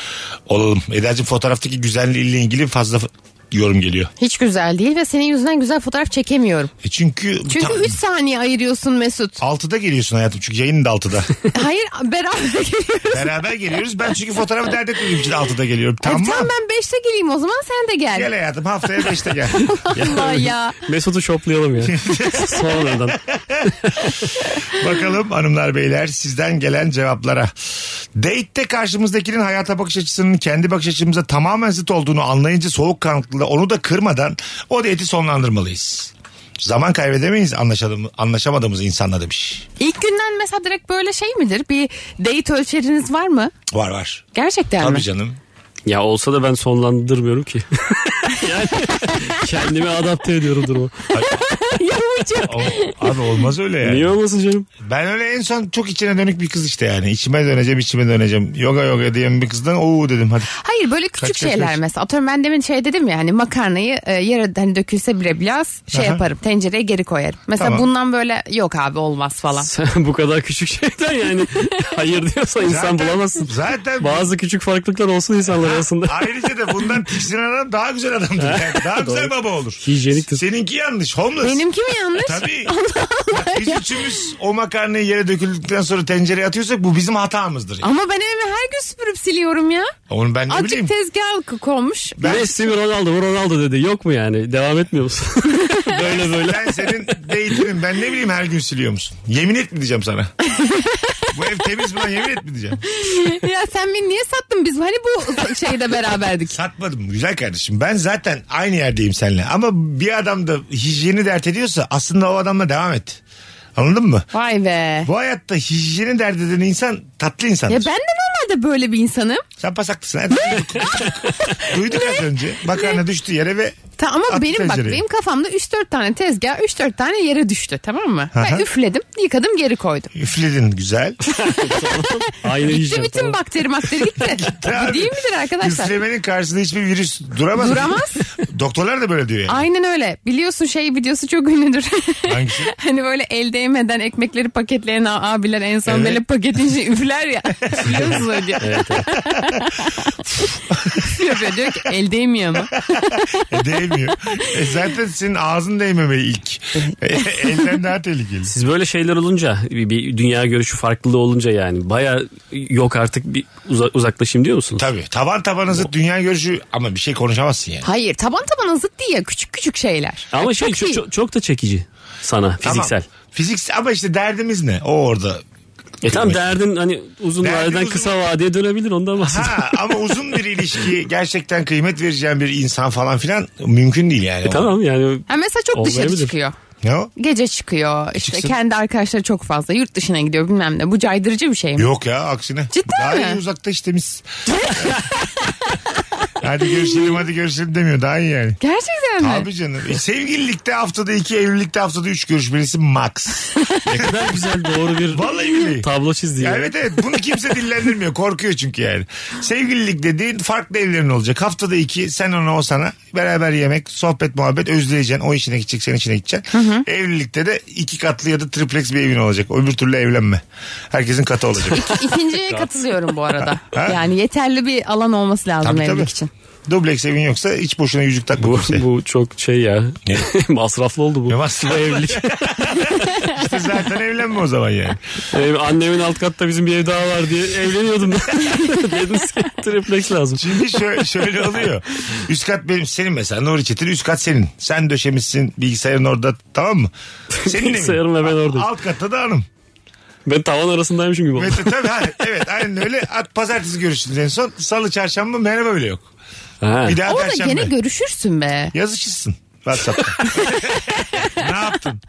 Speaker 3: olalım. Eda'cığım fotoğraftaki güzelliğiyle ilgili fazla f- yorum geliyor.
Speaker 5: Hiç güzel değil ve senin yüzünden güzel fotoğraf çekemiyorum.
Speaker 3: E çünkü
Speaker 5: Çünkü 3 saniye ayırıyorsun Mesut.
Speaker 3: 6'da geliyorsun hayatım çünkü yayının da 6'da.
Speaker 5: Hayır beraber geliyoruz.
Speaker 3: Beraber geliyoruz. Ben çünkü fotoğrafı dert etmediğim için 6'da geliyorum. Tamam.
Speaker 5: E, tamam ben 5'te geleyim o zaman sen de gel.
Speaker 3: Gel hayatım haftaya 5'te gel.
Speaker 5: Allah ya.
Speaker 4: Mesut'u şoplayalım ya. Sonradan.
Speaker 3: Bakalım hanımlar beyler sizden gelen cevaplara. Date'te karşımızdakinin hayata bakış açısının kendi bakış açımıza tamamen zıt olduğunu anlayınca soğukkanlılıkla onu da kırmadan o date'i sonlandırmalıyız. Zaman kaybedemeyiz anlaşalım, anlaşamadığımız insanla demiş.
Speaker 5: İlk günden mesela direkt böyle şey midir? Bir date ölçeriniz var mı?
Speaker 3: Var var.
Speaker 5: Gerçekten mi?
Speaker 3: Tabii canım.
Speaker 4: Ya olsa da ben sonlandırmıyorum ki. yani kendimi adapte ediyorum duruma.
Speaker 5: Yavrucuğum.
Speaker 3: O- abi olmaz öyle yani.
Speaker 4: Niye olmasın canım?
Speaker 3: Ben öyle en son çok içine dönük bir kız işte yani. İçime döneceğim içime döneceğim. Yoga yoga diyen bir kızdan ooo dedim hadi.
Speaker 5: Hayır böyle küçük
Speaker 3: Kaç, kaç,
Speaker 5: şeyler
Speaker 3: kaç?
Speaker 5: mesela. Atıyorum ben demin şey dedim ya hani makarnayı e, yere hani dökülse bile biraz şey
Speaker 3: Aha.
Speaker 5: yaparım. Tencereye geri koyarım. Mesela
Speaker 3: Tamam.
Speaker 5: bundan böyle yok abi olmaz falan.
Speaker 4: Sen bu kadar küçük şeyden yani hayır diyorsa insan
Speaker 3: Zaten-
Speaker 4: bulamazsın.
Speaker 3: Zaten-
Speaker 4: Bazı küçük farklılıklar olsun insanlar arasında.
Speaker 3: Ayrıca da bundan tiksinen adam daha güzel adamdır. Yani. Daha güzel baba olur.
Speaker 4: Hijyeniktir.
Speaker 3: Seninki yanlış. Homeless.
Speaker 5: Benimki mi yanlış?
Speaker 3: E, Tabii. Biz üçümüz o makarnayı yere döküldükten sonra tencereye atıyorsak bu bizim hatamızdır. Yani.
Speaker 5: Ama ben evimi her gün süpürüp siliyorum ya.
Speaker 3: Onu ben ne bileyim.
Speaker 5: Azıcık tezgah konmuş.
Speaker 4: Ben... Messi mi Ronaldo mu Ronaldo dedi. Yok mu yani? Devam etmiyor musun? böyle böyle.
Speaker 3: Ben senin değitinim. Ben ne bileyim her gün siliyor musun? Yemin et mi diyeceğim sana? bu ev temiz mi lan yemin et mi diyeceğim?
Speaker 5: ya sen beni niye sattın? Biz hani bu şeyde beraberdik.
Speaker 3: Satmadım güzel kardeşim. Ben zaten aynı yerdeyim seninle. Ama bir adam da hijyeni dert ediyorsa aslında o adamla devam et. Anladın mı?
Speaker 5: Vay be.
Speaker 3: Bu hayatta hijyeni dert eden insan tatlı insandır.
Speaker 5: Ya ben de normalde böyle bir insanım.
Speaker 3: Sen pasaklısın. Hadi duyduk. duyduk az önce. Makarna düştü yere ve
Speaker 5: Ta, ama
Speaker 3: Attı
Speaker 5: benim bak
Speaker 3: tencereyi.
Speaker 5: benim kafamda 3-4 tane tezgah 3-4 tane yere düştü tamam mı?
Speaker 3: Aha.
Speaker 5: Ben üfledim yıkadım geri koydum.
Speaker 3: üfledin güzel.
Speaker 4: Aynı
Speaker 5: Gitti
Speaker 4: hijyen.
Speaker 5: bütün
Speaker 4: tamam.
Speaker 5: bakteri bakteri gitti.
Speaker 3: abi.
Speaker 5: Bu değil midir arkadaşlar?
Speaker 3: Üflemenin karşısında hiçbir virüs duramaz.
Speaker 5: Duramaz.
Speaker 3: Doktorlar da böyle diyor yani.
Speaker 5: Aynen öyle. Biliyorsun şey videosu çok ünlüdür.
Speaker 3: Hangisi?
Speaker 5: hani böyle el değmeden ekmekleri paketleyen a- abiler en son
Speaker 3: Evet.
Speaker 5: böyle paketin içine üfler ya. Biliyor musun o diyor. Yapıyor diyor ki el değmiyor mu?
Speaker 3: E, değmiyor. E, zaten senin ağzın değmemeyi ilk. E, elden daha tehlikeli.
Speaker 4: Siz böyle şeyler olunca bir, bir dünya görüşü farklılığı olunca yani baya yok artık bir uza- uzaklaşayım diyor musunuz?
Speaker 3: Tabii. Taban tabanızı dünya görüşü ama bir şey konuşamazsın yani.
Speaker 5: Hayır taban tabana zıt değil ya küçük küçük şeyler.
Speaker 4: Ama şey çok,
Speaker 5: iyi.
Speaker 4: çok, çok da çekici sana fiziksel.
Speaker 3: Tamam. Fiziksel ama işte derdimiz ne? O orada.
Speaker 4: E tamam derdin hani uzun
Speaker 3: Derdin
Speaker 4: vadeden
Speaker 3: uzun-
Speaker 4: kısa vadeye dönebilir ondan bahsediyorum.
Speaker 3: Ha, ama uzun bir ilişki gerçekten kıymet vereceğin bir insan falan filan mümkün değil yani.
Speaker 4: E tamam yani
Speaker 5: Ha mesela çok dışarı
Speaker 4: Olmayabilir.
Speaker 5: çıkıyor.
Speaker 3: Ne o?
Speaker 5: Gece çıkıyor. işte
Speaker 3: Çıksın.
Speaker 5: kendi arkadaşları çok fazla. Yurt dışına gidiyor bilmem ne. Bu caydırıcı bir şey mi?
Speaker 3: Yok ya aksine.
Speaker 5: Cidden
Speaker 3: daha
Speaker 5: mi?
Speaker 3: iyi uzakta işte biz. hadi görüşelim hadi görüşelim demiyor daha iyi yani.
Speaker 5: Gerçekten mi?
Speaker 3: Abi canım. E, sevgililikte haftada iki, evlilikte haftada üç görüşmesi max.
Speaker 4: ne kadar güzel doğru bir
Speaker 3: Vallahi billahi.
Speaker 4: tablo çizdi.
Speaker 3: Ya
Speaker 4: ya.
Speaker 3: evet evet bunu kimse dillendirmiyor korkuyor çünkü yani. Sevgililik dediğin farklı evlerin olacak. Haftada iki sen ona o sana beraber yemek sohbet muhabbet özleyeceksin. O işine gidecek sen içine gideceksin. Evlilikte de iki katlı ya da triplex bir evin olacak. Öbür türlü evlenme. Herkesin katı olacak.
Speaker 5: İkinciye katılıyorum bu arada. yani yeterli bir alan olması lazım
Speaker 3: tabii
Speaker 5: evlilik
Speaker 3: tabii.
Speaker 5: için.
Speaker 3: Dubleks evin yoksa hiç boşuna yüzük takma
Speaker 4: Bu,
Speaker 3: kimseye.
Speaker 4: bu çok şey ya. masraflı oldu bu.
Speaker 3: Ne masraflı?
Speaker 4: Bu evlilik.
Speaker 3: İşte zaten evlenme o zaman yani.
Speaker 4: Ev- annemin alt katta bizim bir ev daha var diye evleniyordum. Dediniz ki triplex lazım.
Speaker 3: Şimdi şö- şöyle oluyor. Üst kat benim senin mesela Nuri Çetin üst kat senin. Sen döşemişsin bilgisayarın orada tamam mı? Senin evin.
Speaker 4: Bilgisayarım ve ben oradayım.
Speaker 3: Alt katta da hanım.
Speaker 4: Ben tavan arasındaymışım gibi oldu.
Speaker 3: Mete tabii ha, evet aynen öyle. At, pazartesi görüştünüz en son. Salı çarşamba merhaba bile yok.
Speaker 4: Ha.
Speaker 3: Bir daha
Speaker 5: Orada
Speaker 3: perşembe.
Speaker 5: gene görüşürsün be.
Speaker 3: Yazışırsın. WhatsApp'ta. ne yaptın?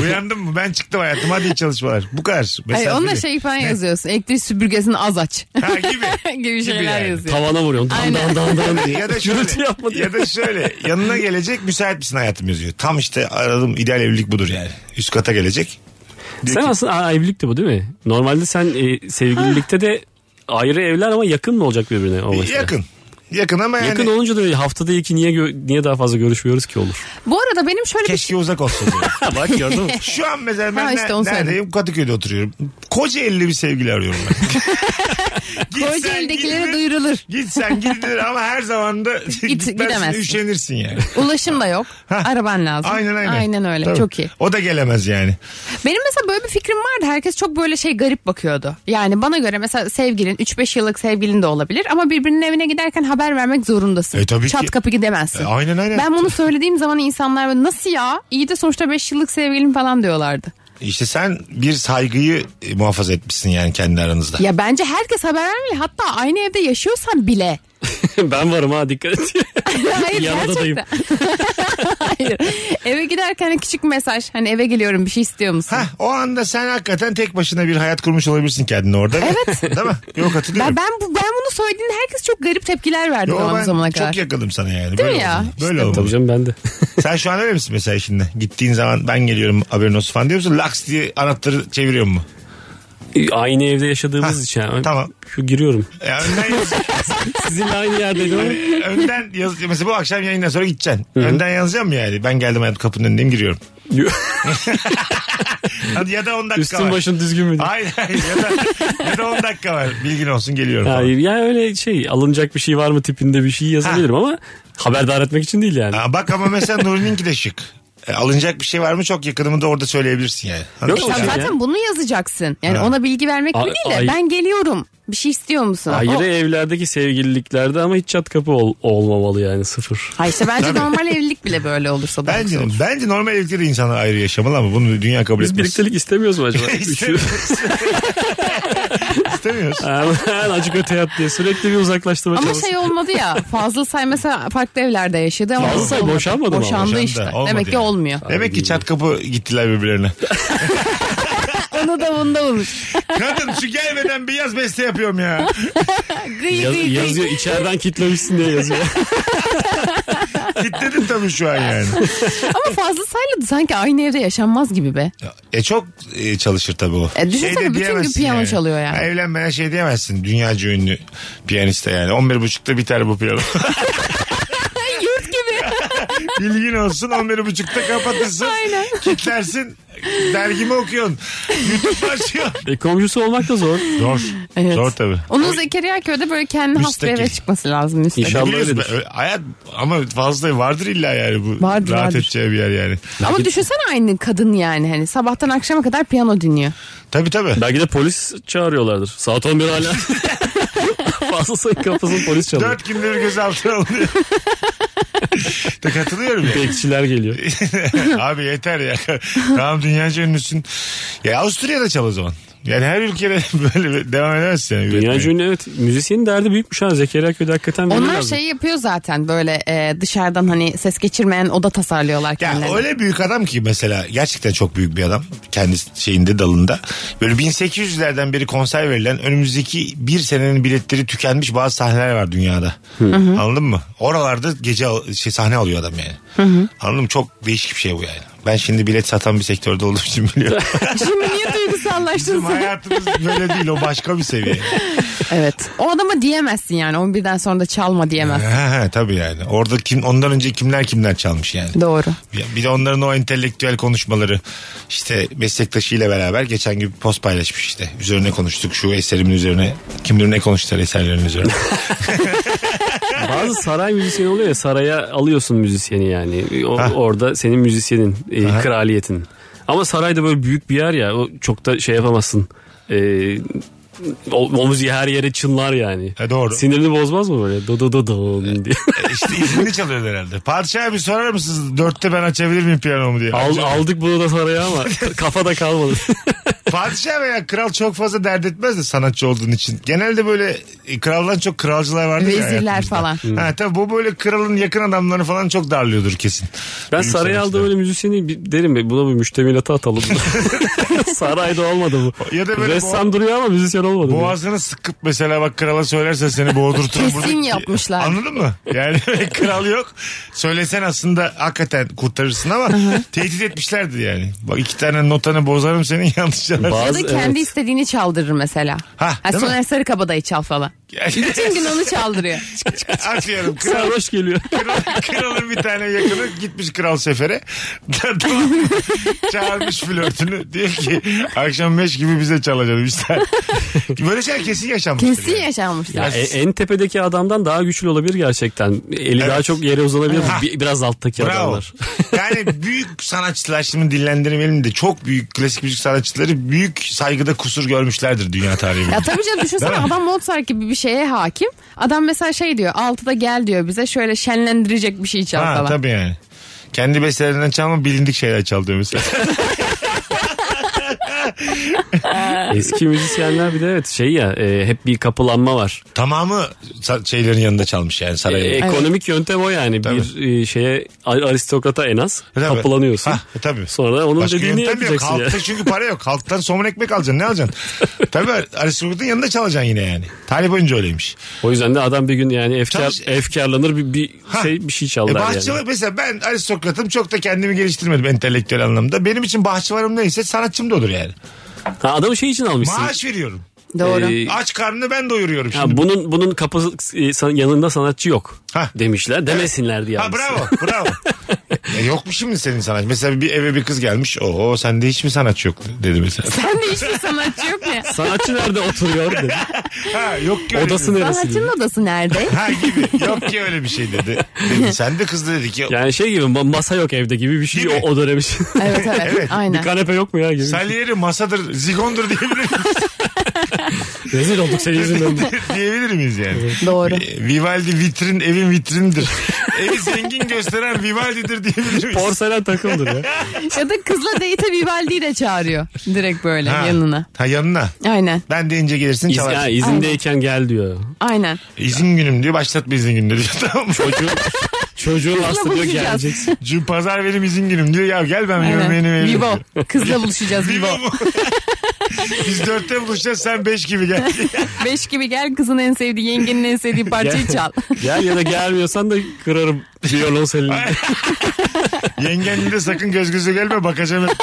Speaker 3: Uyandın mı? Ben çıktım hayatım. Hadi iyi çalışmalar. Bu kadar.
Speaker 5: Hayır,
Speaker 3: Mesafeli.
Speaker 5: onunla şey falan yazıyorsun. Elektrik süpürgesini az aç.
Speaker 3: Ha, gibi.
Speaker 5: gibi şeyler
Speaker 3: yani.
Speaker 5: yazıyor.
Speaker 4: Tavana vuruyorsun. Dan dan dan dan diye.
Speaker 3: ya da
Speaker 4: Gürültü
Speaker 3: şöyle,
Speaker 4: yapma diye.
Speaker 3: ya da şöyle yanına gelecek müsait misin hayatım yazıyor. Tam işte aradım ideal evlilik budur yani. Üst kata gelecek.
Speaker 4: Sen aslında aa, evlilikti bu değil mi? Normalde sen e, sevgililikte de ayrı evler ama yakın mı olacak birbirine? O mesela?
Speaker 3: Yakın. Yakın ama yani
Speaker 4: Yakın olunca da haftada iki niye gö- niye daha fazla görüşmüyoruz ki olur?
Speaker 5: Bu arada benim şöyle bir
Speaker 3: keşke uzak olsun. diyor.
Speaker 4: Bak gördün mü?
Speaker 3: Şu an mesela ben
Speaker 5: Ha, işte
Speaker 3: ne-
Speaker 5: onu söyledim.
Speaker 3: neredeyim? Kadıköy'de oturuyorum. Kocaeli'li bir sevgili arıyorum ben. Gitsen
Speaker 5: Kocaeli'dekilere
Speaker 3: gidilir,
Speaker 5: duyurulur.
Speaker 3: Gitsen gidilir ama her zaman da gitmezsin,
Speaker 5: gidemezsin.
Speaker 3: üşenirsin yani.
Speaker 5: Ulaşım da yok. Araban lazım.
Speaker 3: Aynen aynen.
Speaker 5: öyle.
Speaker 3: Tabii.
Speaker 5: Çok iyi.
Speaker 3: O da gelemez yani.
Speaker 5: Benim mesela böyle bir fikrim vardı. Herkes çok böyle şey garip bakıyordu. Yani bana göre mesela sevgilin 3-5 yıllık sevgilin de olabilir ama birbirinin evine giderken haber vermek zorundasın.
Speaker 3: E, tabii
Speaker 5: Çat
Speaker 3: ki.
Speaker 5: kapı gidemezsin.
Speaker 3: E, aynen, aynen.
Speaker 5: Ben bunu söylediğim zaman insanlar böyle, nasıl ya? İyi de sonuçta 5 yıllık sevgilim falan diyorlardı.
Speaker 3: İşte sen bir saygıyı e, muhafaza etmişsin yani kendi aranızda.
Speaker 5: Ya bence herkes haber vermeli. Hatta aynı evde yaşıyorsan bile.
Speaker 4: ben varım ha dikkat et.
Speaker 5: Hayır
Speaker 4: Yanında dayım.
Speaker 5: gerçekten. Hayır. Eve giderken hani küçük mesaj. Hani eve geliyorum bir şey istiyor musun?
Speaker 3: Hah, o anda sen hakikaten tek başına bir hayat kurmuş olabilirsin kendine orada. Evet. Değil mi? Yok hatırlıyorum.
Speaker 5: Ben, ben, bu, ben bunu söylediğinde herkes çok garip tepkiler verdi
Speaker 3: Yo,
Speaker 5: bana bu
Speaker 3: ben
Speaker 5: zamana kadar.
Speaker 3: çok yakınım sana yani.
Speaker 5: Değil mi
Speaker 3: böyle
Speaker 5: ya?
Speaker 3: olmalı.
Speaker 5: İşte
Speaker 3: Böyle
Speaker 4: Tabii
Speaker 3: olmalı.
Speaker 4: canım ben de.
Speaker 3: Sen şu an öyle misin mesela şimdi? Gittiğin zaman ben geliyorum haberin olsun falan diyor musun? Laks diye anahtarı çeviriyor mu?
Speaker 4: E, aynı evde yaşadığımız
Speaker 3: Ha,
Speaker 4: için. yani.
Speaker 3: tamam.
Speaker 4: Şu giriyorum.
Speaker 3: E, önden yaz.
Speaker 4: Sizinle aynı yerdeydim ama
Speaker 3: hani önden yaz. Mesela bu akşam yayından sonra gideceksin. Önden yazacağım mı yani? Ben geldim hayatım kapının önündeyim giriyorum. Hadi ya da 10 dakika
Speaker 4: üstün
Speaker 3: var.
Speaker 4: başın düzgün mü? diye.
Speaker 3: Hayır hayır ya da, ya da 10 dakika var. Bilgin olsun geliyorum. falan.
Speaker 4: Hayır ya öyle şey alınacak bir şey var mı tipinde bir şey yazabilirim ama haberdar etmek için değil yani.
Speaker 3: Aa, bak ama mesela Nuri'ninki de şık. E, alınacak bir şey var mı çok yakınımı da orada söyleyebilirsin yani. Anladın
Speaker 4: Yok,
Speaker 3: mı?
Speaker 5: Ya
Speaker 4: Yani-
Speaker 5: zaten bunu yazacaksın. Yani
Speaker 3: Ha.
Speaker 5: ona bilgi vermek
Speaker 4: Şey- A-
Speaker 5: mi değil de
Speaker 4: ay-
Speaker 5: ben geliyorum. Bir şey istiyor musun?
Speaker 4: Ayrı
Speaker 5: O-
Speaker 4: evlerdeki sevgililiklerde ama hiç çat kapı ol- olmamalı yani sıfır.
Speaker 5: Ha işte bence
Speaker 3: Tabii.
Speaker 5: normal evlilik bile böyle olursa daha
Speaker 3: Bence,
Speaker 5: güzel olur.
Speaker 3: bence normal evlilikte de insanlar ayrı yaşamalı ama bunu dünya kabul
Speaker 4: Biz
Speaker 3: etmez.
Speaker 4: birliktelik istemiyoruz mu acaba? Üçü.
Speaker 3: İstemiyoruz. İstemiyoruz.
Speaker 4: Hemen acık öte yat diye sürekli bir uzaklaştırma
Speaker 5: Ama
Speaker 4: çabası.
Speaker 5: şey olmadı ya. Fazıl Say mesela farklı evlerde yaşadı ama
Speaker 4: Fazıl Say
Speaker 5: olmadı.
Speaker 4: boşanmadı mı ama?
Speaker 5: Boşandı
Speaker 3: Boşandı,
Speaker 5: işte.
Speaker 3: olmadı
Speaker 5: Demek ki
Speaker 3: yani.
Speaker 5: olmuyor.
Speaker 3: Demek ki çat kapı gittiler birbirlerine.
Speaker 5: Onu da bunda olur.
Speaker 3: Kadın şu gelmeden bir yaz beste yapıyorum ya.
Speaker 5: Gıy
Speaker 4: Yaz-
Speaker 5: gıy gıy.
Speaker 4: yazıyor içeriden kitlemişsin diye yazıyor.
Speaker 3: Kitledim tabii şu an yani.
Speaker 5: Ama Fazıl Say'la da sanki aynı evde yaşanmaz gibi be.
Speaker 3: E çok e, çalışır tabii o. Şey
Speaker 5: E,
Speaker 3: de
Speaker 5: düşünsene bütün gün
Speaker 3: diyemezsin
Speaker 5: piyano çalıyor yani.
Speaker 3: Ha, Evlenmeden şey diyemezsin. Dünyaca ünlü piyaniste yani. 11.30'da biter bu piyano.
Speaker 5: Yurt gibi.
Speaker 3: Bilgin olsun 11.30'da kapatırsın.
Speaker 5: Aynen.
Speaker 3: Kitlersin. Dergimi okuyorsun. YouTube açıyorsun.
Speaker 4: E, komşusu olmak da zor.
Speaker 3: Zor.
Speaker 5: Evet.
Speaker 3: Zor tabii.
Speaker 5: Onun Zekeriya köyde böyle kendi has bir
Speaker 3: Müstakil.
Speaker 5: eve çıkması lazım. Müstakil.
Speaker 4: İnşallah.
Speaker 3: Biliyorsun,
Speaker 4: öyledir.
Speaker 3: ben- hayat ama fazla vardır illa yani bu
Speaker 5: Vardır,
Speaker 3: rahat
Speaker 5: vardır.
Speaker 3: edeceği bir yer yani.
Speaker 5: Ama düşünsene aynı kadın yani hani sabahtan akşama kadar piyano dinliyor.
Speaker 3: Tabii tabii.
Speaker 4: Belki de polis çağırıyorlardır. Saat 11 hala. Fazla sayı kapısın polis çalıyor.
Speaker 3: Dört gündür gözaltına alınıyor. De katılıyorum ya.
Speaker 4: Bekçiler geliyor.
Speaker 3: Abi yeter ya. tamam dünyaca ünlüsün. Ya Avusturya'da çal o zaman. Yani her ülkede böyle devam edemezsin. Yani
Speaker 4: Dünya
Speaker 3: üretmeye.
Speaker 4: cümle evet. Müzisyenin derdi büyükmüş ha. Zekeriya Köy'de hakikaten verirler
Speaker 5: Onlar
Speaker 4: bunu.
Speaker 5: şey yapıyor zaten böyle e, dışarıdan hani ses geçirmeyen oda tasarlıyorlar
Speaker 3: Ya
Speaker 5: kendilerine.
Speaker 3: öyle büyük adam ki mesela gerçekten çok büyük bir adam. Kendi şeyinde dalında. Böyle 1800'lerden beri konser verilen önümüzdeki bir senenin biletleri tükenmiş bazı sahneler var dünyada. Anladın mı? Oralarda gece al- şey, sahne alıyor adam yani. Anladın mı? Çok değişik bir şey bu yani. Ben şimdi bilet satan bir sektörde olduğum için biliyorum.
Speaker 5: Şimdi niye duygusallaştın
Speaker 3: Bizim
Speaker 5: sen?
Speaker 3: hayatımız böyle değil o başka bir seviye.
Speaker 5: Evet. O adama diyemezsin yani 11'den sonra da çalma diyemez.
Speaker 3: Ha, ha, tabii yani. Orada kim ondan önce kimler kimler çalmış yani.
Speaker 5: Doğru.
Speaker 3: Ya Bir de onların o entelektüel konuşmaları işte meslektaşıyla beraber geçen gün bir post paylaşmış işte. Üzerine konuştuk şu eserimin üzerine. Kim bilir ne konuştular eserlerin üzerine.
Speaker 4: Bazı saray müzisyeni oluyor ya saraya alıyorsun müzisyeni yani. O,
Speaker 3: Ha.
Speaker 4: orada senin müzisyenin, e, kraliyetin. Ama saray da böyle büyük bir yer ya. O çok da şey yapamazsın. E, o, o müziği her yere çınlar yani.
Speaker 3: Ha, E, doğru. E,
Speaker 4: Sinirini bozmaz mı böyle? Do do do do diye.
Speaker 3: işte izinli çalıyor herhalde. Padişah bir sorar mısınız? Dörtte ben açabilir miyim piyanomu diye.
Speaker 4: Al- aldık bunu da saraya ama ka- kafada kalmadı.
Speaker 3: Padişah veya kral çok fazla dert etmez de sanatçı olduğun için. Genelde böyle e, kraldan çok kralcılar vardır ya
Speaker 5: Vezirler
Speaker 3: hayatımızda.
Speaker 5: falan.
Speaker 3: Ha, tabii bu böyle kralın yakın adamları falan çok darlıyordur kesin.
Speaker 4: Ben
Speaker 3: Benim
Speaker 4: saraya
Speaker 3: sanatçılar.
Speaker 4: aldığım öyle müzisyeni bir- derim be buna bir müştemilata atalım. Sarayda olmadı bu.
Speaker 3: Ya da böyle
Speaker 4: Ressam duruyor ama müzisyen olmadı.
Speaker 3: Boğazını sıkıp mesela bak krala söylersen seni boğdurtur.
Speaker 5: Kesin
Speaker 3: Burada-
Speaker 5: yapmışlar.
Speaker 3: Anladın mı? Yani kral yok. Söylesen aslında hakikaten kurtarırsın ama tehdit etmişlerdir yani. Bak iki tane notanı bozarım senin yanlış
Speaker 5: Ya
Speaker 3: çalarsın.
Speaker 4: Bazı-
Speaker 5: da
Speaker 4: evet.
Speaker 5: kendi istediğini çaldırır mesela.
Speaker 3: Ha,
Speaker 5: Ha,
Speaker 3: değil mi?
Speaker 5: Soner Sarıkabadayı çal falan. Bütün gün onu çaldırıyor.
Speaker 3: Atıyorum. Kral,
Speaker 4: Sarhoş geliyor.
Speaker 3: kral- kralın bir tane yakını gitmiş kral sefere. Tamam. Çağırmış flörtünü. Diyor ki akşam beş gibi bize çalacaksın işte. Böyle şeyler kesin yaşanmıştır.
Speaker 5: Kesin
Speaker 3: yani.
Speaker 5: yaşanmıştır.
Speaker 4: Ya e- en tepedeki adamdan daha güçlü olabilir gerçekten. Eli daha çok yere uzanabilir. Bi- biraz alttaki
Speaker 3: Bravo.
Speaker 4: adamlar.
Speaker 3: yani büyük sanatçılar şimdi dillendirmeyelim de çok büyük klasik müzik sanatçıları büyük saygıda kusur görmüşlerdir dünya tarihinde.
Speaker 5: Ya tabii canım düşünsene
Speaker 3: Değil mi?
Speaker 5: adam Mozart gibi bir şeye hakim. Adam mesela şey diyor 6'da gel diyor bize şöyle şenlendirecek bir şey çal
Speaker 3: ha
Speaker 5: falan.
Speaker 3: tabii yani. Kendi bestelerinden çalma bilindik şeyler çal diyor mesela.
Speaker 4: Eski müzisyenler bir de evet şey ya e, hep bir kapılanma var.
Speaker 3: Tamamı sa- şeylerin yanında çalmış yani
Speaker 4: E,
Speaker 3: sarayın.
Speaker 4: ekonomik yöntem o yani. Bir e, şeye a- aristokrata en az
Speaker 3: E, Tabii.
Speaker 4: kapılanıyorsun.
Speaker 3: Ha, e, tabii.
Speaker 4: Sonra da onun
Speaker 3: Başka
Speaker 4: dediğini
Speaker 3: yöntem yok.
Speaker 4: yapacaksın ya.
Speaker 3: Halkta çünkü para yok. Halktan somun ekmek alacaksın. Ne alacaksın? tabii aristokratın yanında çalacaksın yine yani. Talip oyuncu öyleymiş.
Speaker 4: O yüzden de adam bir gün yani efkar,
Speaker 3: Çalış-
Speaker 4: efkarlanır bir, bir
Speaker 3: Ha.
Speaker 4: şey bir şey
Speaker 3: E,
Speaker 4: çalar
Speaker 3: bahçıvar
Speaker 4: yani.
Speaker 3: mesela ben aristokratım çok da kendimi geliştirmedim entelektüel anlamda. Benim için bahçıvarım neyse sanatçım da olur yani.
Speaker 4: Ha, adamı şey için almışsın.
Speaker 3: Maaş veriyorum.
Speaker 5: Doğru.
Speaker 4: E,
Speaker 3: Aç karnını ben doyuruyorum
Speaker 4: ha,
Speaker 3: şimdi.
Speaker 4: bunun bunun kapı e, san- yanında sanatçı yok
Speaker 3: Ha.
Speaker 4: demişler. Demesinler diye.
Speaker 3: Ha
Speaker 4: almışsın.
Speaker 3: bravo bravo. ya yok mu şimdi senin sanatçı? Mesela bir eve bir kız gelmiş. Oo sende hiç mi sanatçı yok dedi mesela.
Speaker 5: Sen de hiçbir sanatçı yok mu? ya?
Speaker 4: Sanatçı nerede oturuyor dedi.
Speaker 3: ha yok ki öyle
Speaker 4: Odası
Speaker 3: bir-
Speaker 4: neresi? dedi.
Speaker 5: Sanatçının odası nerede?
Speaker 3: Ha gibi yok ki öyle bir şey dedi. dedi. Sen de kız da dedi ki
Speaker 4: Yani şey gibi ma- masa yok evde gibi bir şey
Speaker 3: Değil mi?
Speaker 4: o, o dönem için.
Speaker 5: evet evet,
Speaker 3: Evet,
Speaker 4: bir
Speaker 5: aynen.
Speaker 4: kanepe yok mu ya gibi.
Speaker 3: Salieri masadır zigondur diyebilir,
Speaker 4: Rezil olduk senin yüzünden.
Speaker 3: diyebilir miyiz yani?
Speaker 5: Doğru.
Speaker 3: E, Vivaldi vitrin evin vitrindir. Evi zengin gösteren Vivaldi'dir diyebilir miyiz?
Speaker 4: Porselen takımdır ya.
Speaker 5: ya da kızla date'e Vivaldi'yi de çağırıyor. Direkt böyle
Speaker 3: Ha.
Speaker 5: yanına.
Speaker 3: Ha yanına.
Speaker 5: Aynen
Speaker 3: Ben deyince gelirsin
Speaker 4: İz, ha,
Speaker 3: çalarsın.
Speaker 4: izindeyken gel diyor.
Speaker 5: aynen.
Speaker 3: İzin günüm diyor başlatma izin gününü diyor tamam mı?
Speaker 4: Çocuğu, çocuğun hasta diyor
Speaker 5: buluşacağız.
Speaker 4: geleceksin.
Speaker 3: Cüm pazar benim izin günüm diyor. Ya gel ben
Speaker 5: aynen.
Speaker 3: yemeğini veririm.
Speaker 5: Vivo.
Speaker 3: diyor.
Speaker 5: Kızla buluşacağız Vivo.
Speaker 3: Vivo mu? Biz dörtte buluşacağız sen beş gibi gel.
Speaker 5: Beş gibi gel kızın en sevdiği yengenin en sevdiği parçayı çal.
Speaker 4: Gel ya da gelmiyorsan da kırarım violons elini.
Speaker 3: Yengenle de sakın göz göze gelme bakacağım hep.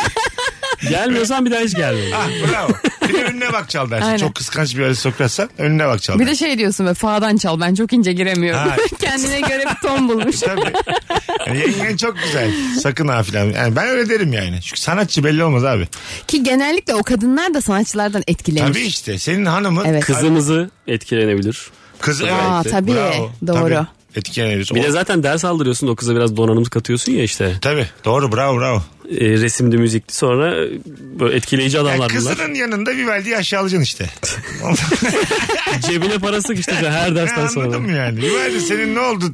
Speaker 4: Gelmiyorsan bir daha hiç gelme.
Speaker 3: Ah bravo. Bir de önüne bak çal dersin.
Speaker 5: Aynen.
Speaker 3: Çok kıskanç bir aristokratsan önüne bak çal
Speaker 5: Bir
Speaker 3: dersin.
Speaker 5: de şey diyorsun böyle fa'dan çal ben çok ince
Speaker 3: Ha.
Speaker 5: giremiyorum. Kendine göre bir ton bulmuş.
Speaker 3: Tabii. Yani yengen çok güzel. Sakın ha filan. Yani ben öyle derim yani. Çünkü sanatçı belli olmaz abi.
Speaker 5: Ki genellikle o kadınlar da sanatçılardan etkilenir.
Speaker 3: Tabii işte. Senin hanımın
Speaker 5: Evet.
Speaker 4: Kızınızı etkilenebilir.
Speaker 3: kızı.
Speaker 5: Aa,
Speaker 4: Evet,
Speaker 5: tabii
Speaker 3: Bravo.
Speaker 5: doğru.
Speaker 3: Tabii. Etkileniriz.
Speaker 4: Bir de
Speaker 3: O-
Speaker 4: zaten ders aldırıyorsun o kıza biraz donanım katıyorsun ya işte.
Speaker 3: Tabii. Doğru bravo bravo.
Speaker 4: E, resimdi müzikti sonra e, böyle etkileyici
Speaker 3: Ya
Speaker 4: adamlar bunlar.
Speaker 3: kızının yanında Vivaldi'yi aşağılayacaksın işte.
Speaker 4: Cebine parası işte her
Speaker 3: Ne
Speaker 4: dersten sonra.
Speaker 3: anladın mı yani? Vivaldi senin ne oldu?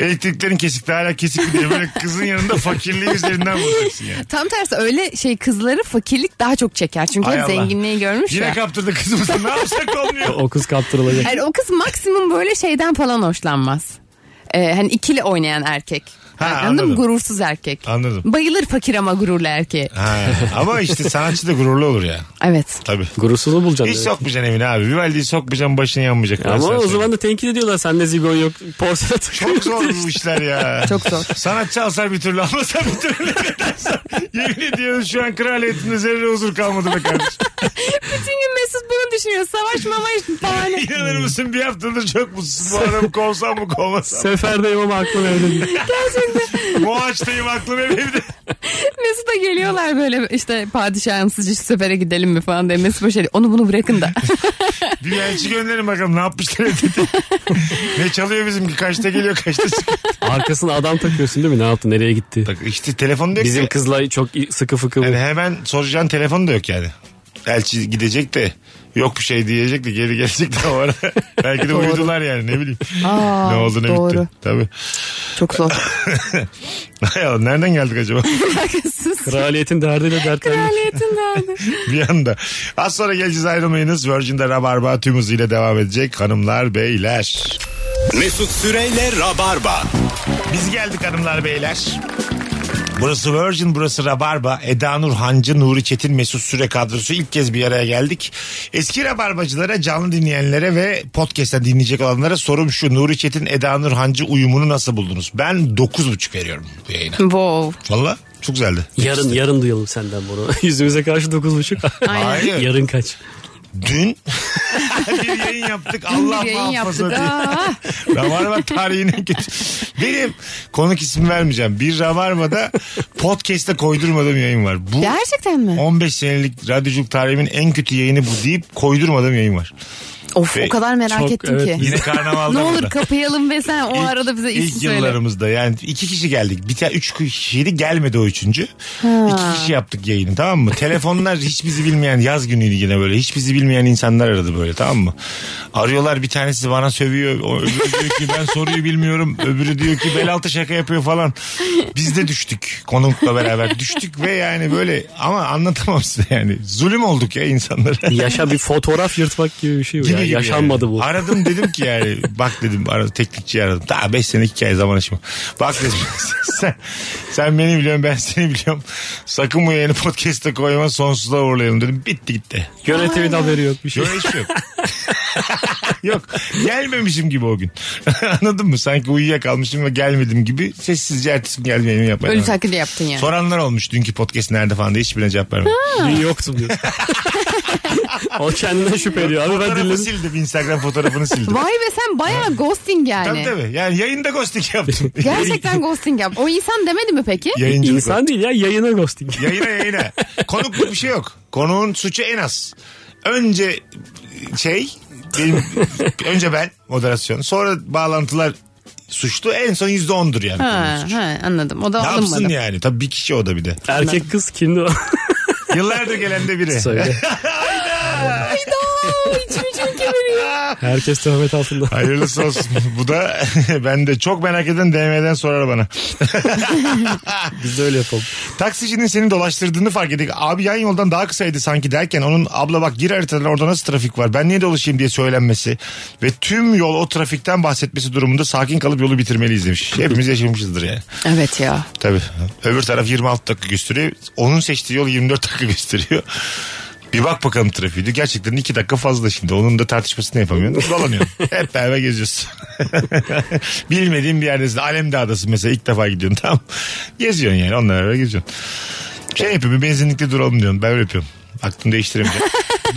Speaker 3: Elektriklerin kesikti hala kesik diye böyle kızın yanında fakirliği üzerinden vuracaksın yani.
Speaker 5: Tam tersi öyle şey kızları fakirlik daha çok çeker. Çünkü
Speaker 3: Hay
Speaker 5: hep
Speaker 3: Allah.
Speaker 5: zenginliği görmüş
Speaker 3: Yine
Speaker 5: ya.
Speaker 3: kaptırdı kızımızı. Ne yapsak olmuyor.
Speaker 4: O kız kaptırılacak.
Speaker 5: Yani o kız maksimum böyle şeyden falan hoşlanmaz. Ee, hani ikili oynayan erkek.
Speaker 3: Ha,
Speaker 5: Yani anladın mı?
Speaker 3: anladım.
Speaker 5: Gurursuz erkek.
Speaker 3: Anladım.
Speaker 5: Bayılır fakir ama gururlu erkeğe.
Speaker 3: Ha, ama işte sanatçı da gururlu olur ya.
Speaker 5: Evet.
Speaker 3: Tabii.
Speaker 4: Gurursuzunu bulacaksın.
Speaker 3: Hiç
Speaker 4: evet.
Speaker 3: sokmayacaksın evine abi. Vivaldi'yi sokmayacaksın başına yanmayacak. Ben
Speaker 4: Ama
Speaker 3: sana
Speaker 4: o
Speaker 3: söyleyeyim.
Speaker 4: zaman da tenkit ediyorlar. Sende zigon yok. Porsele takıyor.
Speaker 3: Çok zor bu işler ya.
Speaker 5: Çok zor.
Speaker 3: Sanatçı alsa bir türlü almasa bir türlü. Yemin ediyorum şu an kraliyetimde zerre huzur kalmadı be kardeşim.
Speaker 5: Bütün gün Mesut bunu düşünüyor. Savaş mamaş bahane.
Speaker 3: İnanır mısın bir haftadır çok mutsuz. Bu adamı kovsam mı kovmasam. mı?
Speaker 4: Seferdeyim ama aklım evde değil.
Speaker 3: Boğaçtayım aklım hep evde.
Speaker 5: Mesut'a geliyorlar böyle işte padişahım sıcı sefere gidelim mi falan diye. Mesut böyle şey diyor, onu bunu bırakın da.
Speaker 3: Bir elçi gönderin bakalım ne yapmışlar dedi. ne çalıyor bizimki kaçta geliyor kaçta çıkıyor.
Speaker 4: Arkasına adam takıyorsun değil mi? Ne yaptı? Nereye gitti?
Speaker 3: Bak işte telefonu da yok.
Speaker 4: Bizim
Speaker 3: Bizim
Speaker 4: kızla çok sıkı fıkı bu.
Speaker 3: yani hemen soracağın telefonu da yok yani. Elçi gidecek de yok bir şey diyecek de geri gelecek de o ara. Belki de uyudular yani ne bileyim.
Speaker 5: Aa,
Speaker 3: ne oldu ne bitti.
Speaker 5: doğru.
Speaker 3: Tabii.
Speaker 5: Çok zor.
Speaker 3: Hay Allah, nereden geldik acaba?
Speaker 5: Alakasız.
Speaker 4: Kraliyetin derdiyle dertlendi.
Speaker 5: Kraliyetin derdi.
Speaker 3: bir anda. Az sonra geleceğiz ayrılmayınız. Virgin'de Rabarba tüm hızıyla devam edecek hanımlar beyler.
Speaker 2: Mesut Süreyle Rabarba.
Speaker 3: Biz geldik hanımlar beyler. Burası Virgin, burası Rabarba. Eda Nur Hancı, Nuri Çetin, Mesut Süre kadrosu ilk kez bir araya geldik. Eski Rabarbacılara, canlı dinleyenlere ve podcast'ten dinleyecek olanlara sorum şu. Nuri Çetin, Eda Nur Hancı uyumunu nasıl buldunuz? Ben 9,5 veriyorum bu yayına.
Speaker 5: wow.
Speaker 3: Valla çok güzeldi.
Speaker 4: Yarın yarın duyalım senden bunu. Yüzümüze karşı dokuz buçuk.
Speaker 3: Hayır.
Speaker 4: yarın kaç?
Speaker 3: Dün bir yayın yaptık. Allah
Speaker 5: Bir yayın
Speaker 3: muhafaza
Speaker 5: yaptık.
Speaker 3: diye.
Speaker 5: Aa.
Speaker 3: Rabarba tarihinin kötü. Benim konuk ismi vermeyeceğim. Bir Rabarba'da podcast'te koydurmadığım yayın var. Bu
Speaker 5: Gerçekten mi?
Speaker 3: 15 senelik radyoculuk tarihimin en kötü yayını bu deyip koydurmadığım yayın var.
Speaker 5: Of
Speaker 3: Ve
Speaker 5: o kadar merak
Speaker 4: çok-
Speaker 5: ettim
Speaker 4: evet,
Speaker 5: ki.
Speaker 3: Yine karnavalda.
Speaker 5: Ne olur
Speaker 3: burada.
Speaker 5: kapayalım ve sen o
Speaker 3: İlk-
Speaker 5: arada bize
Speaker 3: ilk
Speaker 5: ismi söyle.
Speaker 3: yıllarımızda yani iki kişi geldik. Bir tane üç kişiydi gelmedi o üçüncü. İki kişi yaptık yayını tamam mı? Telefonlar hiç bizi bilmeyen yaz günüydü yine böyle. Hiç bizi bilmeyen insanlar aradı böyle tamam mı? Arıyorlar bir tanesi bana sövüyor. O öbürü diyor ki ben soruyu bilmiyorum. Öbürü diyor ki bel altı şaka yapıyor falan. Biz de düştük konukla beraber düştük ve yani böyle ama anlatamam size yani. Zulüm olduk ya insanlara.
Speaker 4: Yaşa bir fotoğraf yırtmak gibi bir şey bu
Speaker 3: Gibi
Speaker 4: ya.
Speaker 3: gibi
Speaker 4: Yaşanmadı
Speaker 3: yani.
Speaker 4: bu.
Speaker 3: Aradım dedim ki yani bak dedim aradım, teknikçi aradım. Daha 5 sene hikaye zaman aşımı. Bak dedim sen, sen beni biliyorsun ben seni biliyorum. Sakın bu yayını podcast'ta koyma sonsuzluğa uğurlayalım dedim. Bitti gitti.
Speaker 4: Yönetimin haberi yok bir şey.
Speaker 3: Yok hiç yok. yok gelmemişim gibi o gün. Anladın mı? Sanki uyuyakalmışım ve gelmedim gibi sessizce ertesi gün geldim yayını yapmaya.
Speaker 5: Ölü
Speaker 3: devam.
Speaker 5: taklidi yaptın yani.
Speaker 3: Soranlar olmuş dünkü podcast nerede falan diye hiçbirine cevap vermedim.
Speaker 4: Dün yoktum diyor. o kendinden şüphe ediyor. Abi ben
Speaker 3: Fotoğrafı
Speaker 4: dinledim.
Speaker 3: sildim Instagram fotoğrafını sildim.
Speaker 5: Vay be sen bayağı ghosting
Speaker 3: Tabii
Speaker 5: yani.
Speaker 3: tabii. Yani yayında ghosting yaptım.
Speaker 5: Gerçekten ghosting yap. O insan demedi mi peki?
Speaker 3: Yayıncılık
Speaker 4: İnsan değil ya yayına ghosting.
Speaker 3: o. Yayına yayına. Konukluk bir şey yok. Konuğun suçu en az. Önce şey benim, önce ben moderasyon. Sonra bağlantılar suçlu. En son yüzde ondur yani. konuğun
Speaker 5: Ha,
Speaker 3: suçu.
Speaker 5: ha, anladım. O da
Speaker 3: Ne yapsın
Speaker 5: alınmadı.
Speaker 3: yani? Tabii bir kişi o da bir de.
Speaker 4: Erkek kız kimdi o?
Speaker 3: Yıllardır gelen de biri.
Speaker 4: Söyle.
Speaker 5: Hayda içim içim kemiriyor.
Speaker 4: Herkes töhmet altında.
Speaker 3: Hayırlısı olsun. Bu da ben de çok merak eden DM'den sorar bana.
Speaker 4: Biz de öyle yapalım.
Speaker 3: Taksicinin seni dolaştırdığını fark ettik. Abi yan yoldan daha kısaydı sanki derken onun abla bak gir haritadan orada nasıl trafik var ben niye dolaşayım diye söylenmesi ve tüm yol o trafikten bahsetmesi durumunda sakin kalıp yolu bitirmeliyiz demiş. Hepimiz yaşamışızdır yani.
Speaker 5: Evet ya.
Speaker 3: Tabii. Öbür taraf 26 dakika gösteriyor. Onun seçtiği yol 24 dakika gösteriyor. Bir bak bakalım trafiği. diyor. Gerçekten 2 dakika fazla şimdi. Onun da tartışmasını yapamıyorsun. Dolanıyorsun. Hep beraber geziyorsun. Bilmediğin bir yerdesin. Alemde adası mesela ilk defa gidiyorsun. Tamam. Geziyorsun yani. Onlarla beraber geziyorsun. Şey yapıyorum. Bir benzinlikte duralım diyorsun. Ben öyle yapıyorum. Aklımı değiştiremeyeceğim.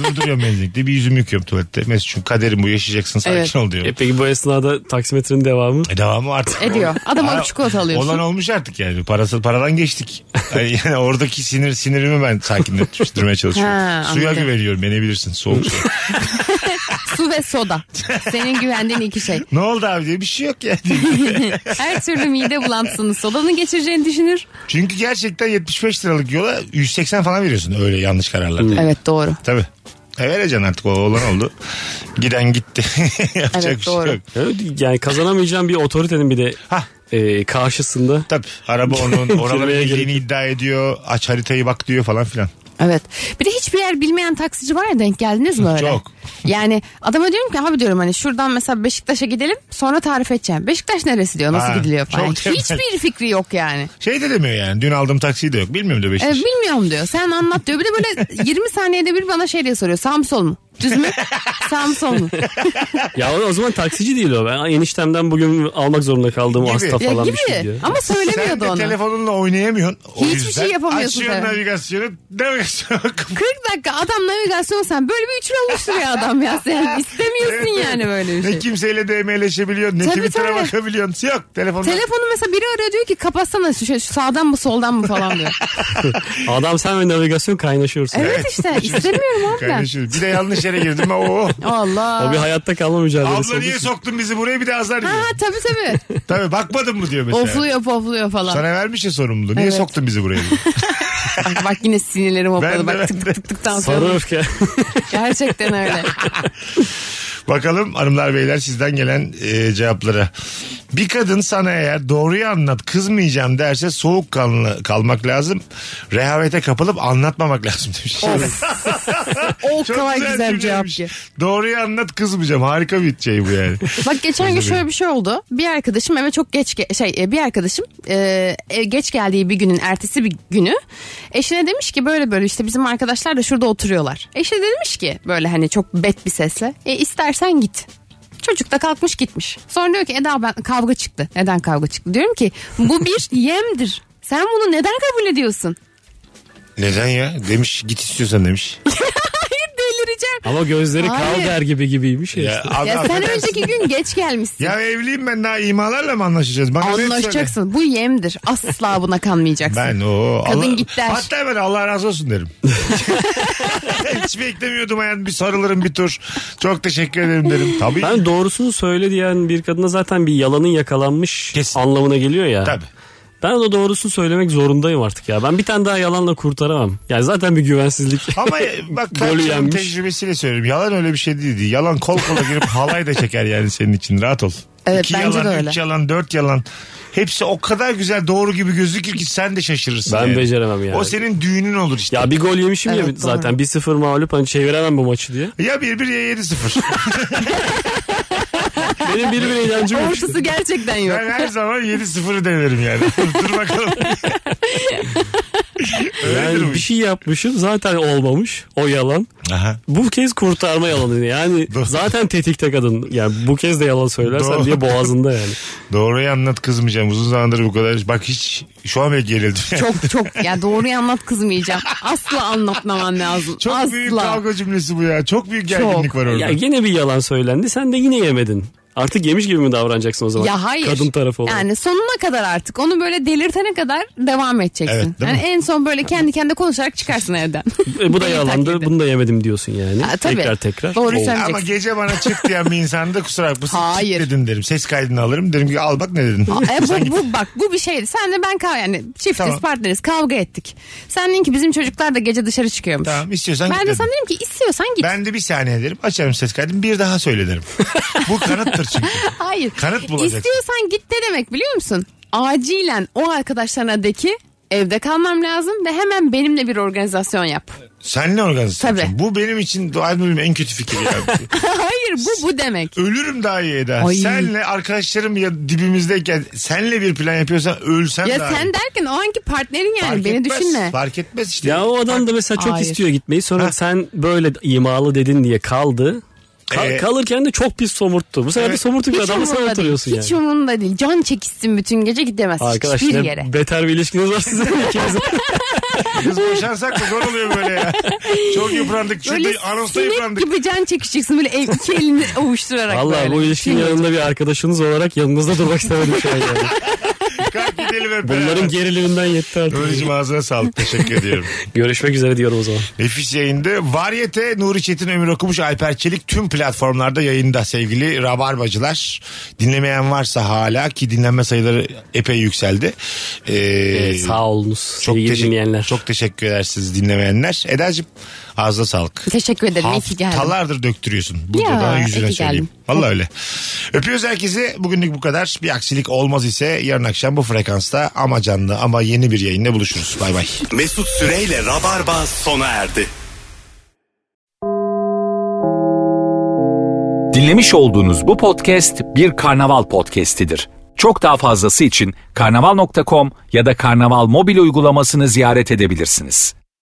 Speaker 3: Durduruyorum benzinlikte. Bir yüzümü yıkıyorum tuvalette. Mesut'cum kaderim bu yaşayacaksın sakin
Speaker 5: Evet.
Speaker 3: ol diyorum.
Speaker 4: E peki bu esnada taksimetrenin devamı?
Speaker 3: E devamı artık.
Speaker 5: Ediyor. Adama
Speaker 3: Aa,
Speaker 5: alıp çikolata alıyorsun.
Speaker 3: Olan olmuş artık yani. Parası paradan geçtik. Yani, yani oradaki sinir sinirimi ben sakinleştirmeye çalışıyorum.
Speaker 5: Ha,
Speaker 3: Suya
Speaker 5: anladım.
Speaker 3: güveniyorum. Beni bilirsin. Soğuk su.
Speaker 5: Su ve soda. Senin güvendiğin iki şey.
Speaker 3: ne oldu abi diye bir şey yok yani.
Speaker 5: Her türlü mide bulantısını sodanın geçireceğini düşünür.
Speaker 3: Çünkü gerçekten 75 liralık yola 180 falan veriyorsun öyle yanlış kararlarda.
Speaker 5: Evet doğru.
Speaker 3: Tabii. E vereceksin artık o olan oldu. Giden gitti. Yapacak
Speaker 5: Evet,
Speaker 3: bir şey
Speaker 5: doğru.
Speaker 3: yok.
Speaker 4: Evet, Yani kazanamayacağım bir otoritenin bir de
Speaker 3: Hah.
Speaker 4: e, karşısında.
Speaker 3: Tabii araba onun oralara
Speaker 4: Girmeye
Speaker 3: girdiğini
Speaker 4: gerek
Speaker 3: iddia ediyor. Aç haritayı bak diyor falan filan.
Speaker 5: Evet. Bir de hiçbir yer bilmeyen taksici var ya denk geldiniz mi öyle?
Speaker 3: Çok.
Speaker 5: Yani adama diyorum ki abi diyorum hani şuradan mesela Beşiktaş'a gidelim sonra tarif edeceğim. Beşiktaş neresi diyor nasıl
Speaker 3: Ha,
Speaker 5: gidiliyor falan.
Speaker 3: çok temel.
Speaker 5: Hiçbir fikri yok yani.
Speaker 3: Şey de demiyor yani dün aldığım taksiyi de yok. Bilmiyorum da
Speaker 5: E,
Speaker 3: Beşiktaş.
Speaker 5: bilmiyorum diyor sen anlat diyor. Bir de böyle 20 saniyede bir bana şey diye soruyor sağ mı sol mu? Düz mü? sağ mı sol mu?
Speaker 4: Ya o zaman taksici değil o. Ben eniştemden bugün almak zorunda kaldığım
Speaker 3: Gibi.
Speaker 4: hasta
Speaker 5: Ya
Speaker 4: falan bir
Speaker 5: gibi
Speaker 4: şey diyor.
Speaker 5: ama
Speaker 3: Sen
Speaker 5: söylemiyordu
Speaker 3: de
Speaker 5: onu.
Speaker 3: telefonunla oynayamıyorsun. O
Speaker 5: Hiçbir
Speaker 3: yüzden
Speaker 5: şey yapamıyorsun
Speaker 3: Açıyorsun
Speaker 5: sen.
Speaker 3: navigasyonu. Navigasyon
Speaker 5: 40 dakika adam navigasyon sen böyle bir üçlü oluşturuyor adam ya sen istemiyorsun yani böyle bir
Speaker 3: Ne
Speaker 5: şey.
Speaker 3: kimseyle DM'leşebiliyorsun ne
Speaker 5: Tabii,
Speaker 3: Twitter'a
Speaker 5: tabii.
Speaker 3: bakabiliyorsun. Yok telefonda.
Speaker 5: Telefonu mesela biri arıyor diyor ki kapatsana şu, şu sağdan mı soldan mı falan diyor.
Speaker 4: Adam sen ve navigasyon kaynaşıyorsun.
Speaker 5: Evet işte istemiyorum abi ben.
Speaker 3: Kaynaşıyoruz. Bir de yanlış yere girdim. Oo.
Speaker 5: Allah.
Speaker 4: O bir hayatta kalma mücadelesi.
Speaker 3: Abla
Speaker 4: olduğu
Speaker 3: niye
Speaker 4: için.
Speaker 3: soktun bizi buraya bir de azar
Speaker 5: Ha
Speaker 3: diyor.
Speaker 5: tabii tabii.
Speaker 3: Tabii bakmadın mı diyor mesela.
Speaker 5: Ofluyor pofluyor falan.
Speaker 3: Sana vermiş ya sorumluluğu. Niye
Speaker 5: Evet.
Speaker 3: soktun bizi buraya?
Speaker 5: Bak, bak yine sinirlerim
Speaker 3: Ben de,
Speaker 5: hopladı.
Speaker 3: ben
Speaker 5: Bak tık
Speaker 3: de.
Speaker 5: tık tık tıktan
Speaker 4: Sarı
Speaker 5: sonra.
Speaker 4: öfke.
Speaker 5: Gerçekten öyle.
Speaker 3: Bakalım hanımlar beyler sizden gelen e, cevaplara. Bir kadın sana eğer doğruyu anlat kızmayacağım derse soğukkanlı kalmak lazım. Rehavete kapılıp anlatmamak lazım demiş.
Speaker 5: O kadar güzel bir cevap
Speaker 3: cevapmış.
Speaker 5: ki.
Speaker 3: Doğruyu anlat kızmayacağım. Harika bir şey bu yani.
Speaker 5: Bak geçen gün şöyle bir şey oldu. Bir arkadaşım eve çok geç ge- şey e, bir arkadaşım e, e, geç geldiği bir günün ertesi bir günü eşine demiş ki böyle böyle işte bizim arkadaşlar da şurada oturuyorlar. Eşine de demiş ki böyle hani çok bet bir sesle e istersen git. Çocuk da kalkmış gitmiş. Sonra diyor ki Eda ben kavga çıktı. Neden kavga çıktı? Diyorum ki bu bir yemdir. Sen bunu neden kabul ediyorsun?
Speaker 3: Neden ya? Demiş git istiyorsan demiş.
Speaker 5: Delireceğim.
Speaker 4: Ama gözleri
Speaker 5: Hayır.
Speaker 4: kal der gibi şey. gibiymiş ya.
Speaker 3: Ya,
Speaker 4: işte.
Speaker 3: abi,
Speaker 5: Ya sen
Speaker 3: affedersin.
Speaker 5: önceki gün geç gelmişsin.
Speaker 3: Ya evliyim ben daha imalarla mı anlaşacağız? Bana net şey söyle.
Speaker 5: Anlaşacaksın. Bu yemdir. Asla buna kanmayacaksın.
Speaker 3: Ben o.
Speaker 5: Kadın
Speaker 3: Allah-
Speaker 5: git der.
Speaker 3: Hatta ben Allah razı olsun derim. Hiç beklemiyordum hayatım. Bir sarılırım bir tur. Çok teşekkür ederim derim. Tabii.
Speaker 4: Ben doğrusunu söyle diyen bir kadına zaten bir yalanın yakalanmış
Speaker 3: Kesin.
Speaker 4: anlamına geliyor ya.
Speaker 3: Tabii.
Speaker 4: Ben de doğrusunu söylemek zorundayım artık ya. Ben bir tane daha yalanla kurtaramam. Yani zaten bir güvensizlik.
Speaker 3: Ama bak
Speaker 4: Golü
Speaker 3: ben
Speaker 4: yenmiş.
Speaker 3: tecrübesiyle söylüyorum. Yalan öyle bir şey değildi. Yalan kol kola girip halay da çeker yani senin için. Rahat ol.
Speaker 5: Evet,
Speaker 3: İki
Speaker 5: bence
Speaker 3: yalan,
Speaker 5: de öyle.
Speaker 3: üç yalan, dört yalan. Hepsi o kadar güzel doğru gibi gözükür ki sen de şaşırırsın.
Speaker 4: Ben
Speaker 3: yani.
Speaker 4: beceremem yani.
Speaker 3: O senin düğünün olur işte.
Speaker 4: Ya bir gol yemişim ya
Speaker 5: Evet,
Speaker 4: zaten. 1-0 mağlup hani çeviremem bu maçı diye.
Speaker 3: Ya 1-1 ya 7-0.
Speaker 4: Benim bir bir inancım yok.
Speaker 5: Ortası gerçekten yok.
Speaker 3: Ben her zaman 7-0'ı denerim yani. Dur bakalım. Öyledir
Speaker 4: Yani
Speaker 3: bu
Speaker 4: bir
Speaker 3: iş.
Speaker 4: şey yapmışım zaten olmamış o yalan.
Speaker 3: Aha.
Speaker 4: Bu kez kurtarma yalanı yani
Speaker 3: Doğru.
Speaker 4: zaten tetikte kadın. Yani bu kez de yalan
Speaker 3: Doğru.
Speaker 4: söylersen diye boğazında yani.
Speaker 3: Doğruyu anlat kızmayacağım. Uzun zamandır bu kadar. Bak hiç şu an bile gerildim.
Speaker 5: Çok çok. Ya doğruyu anlat kızmayacağım. Asla anlatmaman lazım.
Speaker 3: Çok
Speaker 5: Asla.
Speaker 3: büyük kavga cümlesi bu ya. Çok büyük gerginlik
Speaker 5: Çok.
Speaker 3: var orada.
Speaker 4: Ya yine bir yalan söylendi sen de yine yemedin. Artık yemiş gibi mi davranacaksın o zaman?
Speaker 5: Ya hayır.
Speaker 4: Kadın tarafı olarak.
Speaker 5: Yani sonuna kadar artık. Onu böyle delirtene kadar devam edeceksin.
Speaker 3: Evet, değil
Speaker 5: yani
Speaker 3: mi?
Speaker 5: en son böyle kendi kendine konuşarak çıkarsın evden.
Speaker 4: E, bu da
Speaker 5: Beni
Speaker 4: yalandı
Speaker 5: takip
Speaker 4: bunu da yemedim diyorsun yani.
Speaker 5: Ha, tabii.
Speaker 4: Tekrar tekrar.
Speaker 5: Doğru
Speaker 4: Oo.
Speaker 5: söylüyorsun.
Speaker 3: Ama gece bana çık diyen bir insanda kusura bakmasın.
Speaker 5: Hayır.
Speaker 3: Çık dedin derim. Ses kaydını alırım. Derim ki al bak ne dedin.
Speaker 5: Aa, e, bu, bu bak bu bir şeydi. Sen de ben kavga yani çiftiz
Speaker 3: Tamam.
Speaker 5: partneriz kavga ettik. Sen dedin ki bizim çocuklar da gece dışarı çıkıyormuş.
Speaker 3: Tamam istiyorsan
Speaker 5: Ben
Speaker 3: git
Speaker 5: de
Speaker 3: dedim.
Speaker 5: sana dedim ki istiyorsan git.
Speaker 3: Ben de bir saniye derim. Açarım ses kaydını. Bir daha söyle derim. bu kanıttır çünkü.
Speaker 5: Hayır.
Speaker 3: Kanıt bulacaksın.
Speaker 5: İstiyorsan git ne demek biliyor musun? Acilen o arkadaşlarına de ki evde kalmam lazım ve hemen benimle bir organizasyon yap.
Speaker 3: Sen ne organizasyon?
Speaker 5: Tabii.
Speaker 3: yapacaksın? Bu benim için dua etmediğim en kötü fikir ya.
Speaker 5: Hayır bu bu demek.
Speaker 3: Ölürüm daha iyi Eda.
Speaker 5: Ay.
Speaker 3: Senle arkadaşlarım ya dibimizdeyken senle bir plan yapıyorsan ölsem
Speaker 5: Ya
Speaker 3: daha iyi.
Speaker 5: sen derken o anki partnerin yani
Speaker 3: Fark
Speaker 5: beni
Speaker 3: etmez,
Speaker 5: düşünme.
Speaker 3: Fark etmez işte.
Speaker 4: Ya o adam da mesela çok
Speaker 5: Hayır.
Speaker 4: istiyor gitmeyi. Sonra
Speaker 3: Ha.
Speaker 4: sen böyle imalı dedin diye kaldı. Ka-
Speaker 3: Ee,
Speaker 4: kalırken de çok pis somurttu. Bu sefer de
Speaker 3: Evet.
Speaker 4: somurtuk bir
Speaker 5: Hiç
Speaker 4: adamla sen
Speaker 5: umurunda değil.
Speaker 4: oturuyorsun
Speaker 5: Hiç
Speaker 4: yani.
Speaker 5: umurunda değil. Can çekişsin bütün gece gidemez
Speaker 4: Arkadaş
Speaker 5: hiçbir
Speaker 4: ne
Speaker 5: yere.
Speaker 4: beter bir ilişkiniz var sizin ikinizin.
Speaker 3: Biz boşansak da zor oluyor böyle ya. Çok yıprandık. Şurada
Speaker 5: Böyle
Speaker 3: anonsta
Speaker 5: sinek
Speaker 3: yıprandık.
Speaker 5: gibi can çekeceksin böyle el, iki elini ovuşturarak
Speaker 4: Valla
Speaker 5: böyle.
Speaker 4: bu ilişkinin
Speaker 5: Şey-
Speaker 4: yanında bir arkadaşınız olarak yanınızda durmak istemedim şu an yani.
Speaker 3: Kalk gidelim hep
Speaker 4: Bunların
Speaker 3: beraber.
Speaker 4: geriliminden yetti artık.
Speaker 3: Nuri'cim ağzına sağlık. Teşekkür ediyorum.
Speaker 4: Görüşmek üzere diyorum o zaman.
Speaker 3: Nefis yayında. Varyete Nuri Çetin Ömür Okumuş Alper Çelik tüm platformlarda yayında sevgili Rabarbacılar. Dinlemeyen varsa hala ki dinlenme sayıları epey yükseldi. Ee,
Speaker 4: Evet, sağ olunuz. Çok İyi
Speaker 3: teşekkür-
Speaker 4: dinleyenler.
Speaker 3: Çok teşekkür edersiniz dinlemeyenler. Eda'cığım ağzına sağlık.
Speaker 5: Teşekkür ederim. iyi ki geldin.
Speaker 3: Haftalardır döktürüyorsun. Burada
Speaker 5: Ya,
Speaker 3: da
Speaker 5: iyi
Speaker 3: yüzüne
Speaker 5: ki
Speaker 3: söyleyeyim. Valla öyle. Öpüyoruz herkesi. Bugünlük bu kadar. Bir aksilik olmaz ise yarın akşam bu frekansta ama canlı ama yeni bir yayında buluşuruz. Bay bay.
Speaker 2: Mesut Süreyle Rabarba sona erdi.
Speaker 1: Dinlemiş olduğunuz bu podcast bir karnaval podcastidir. Çok daha fazlası için karnaval.com ya da karnaval mobil uygulamasını ziyaret edebilirsiniz.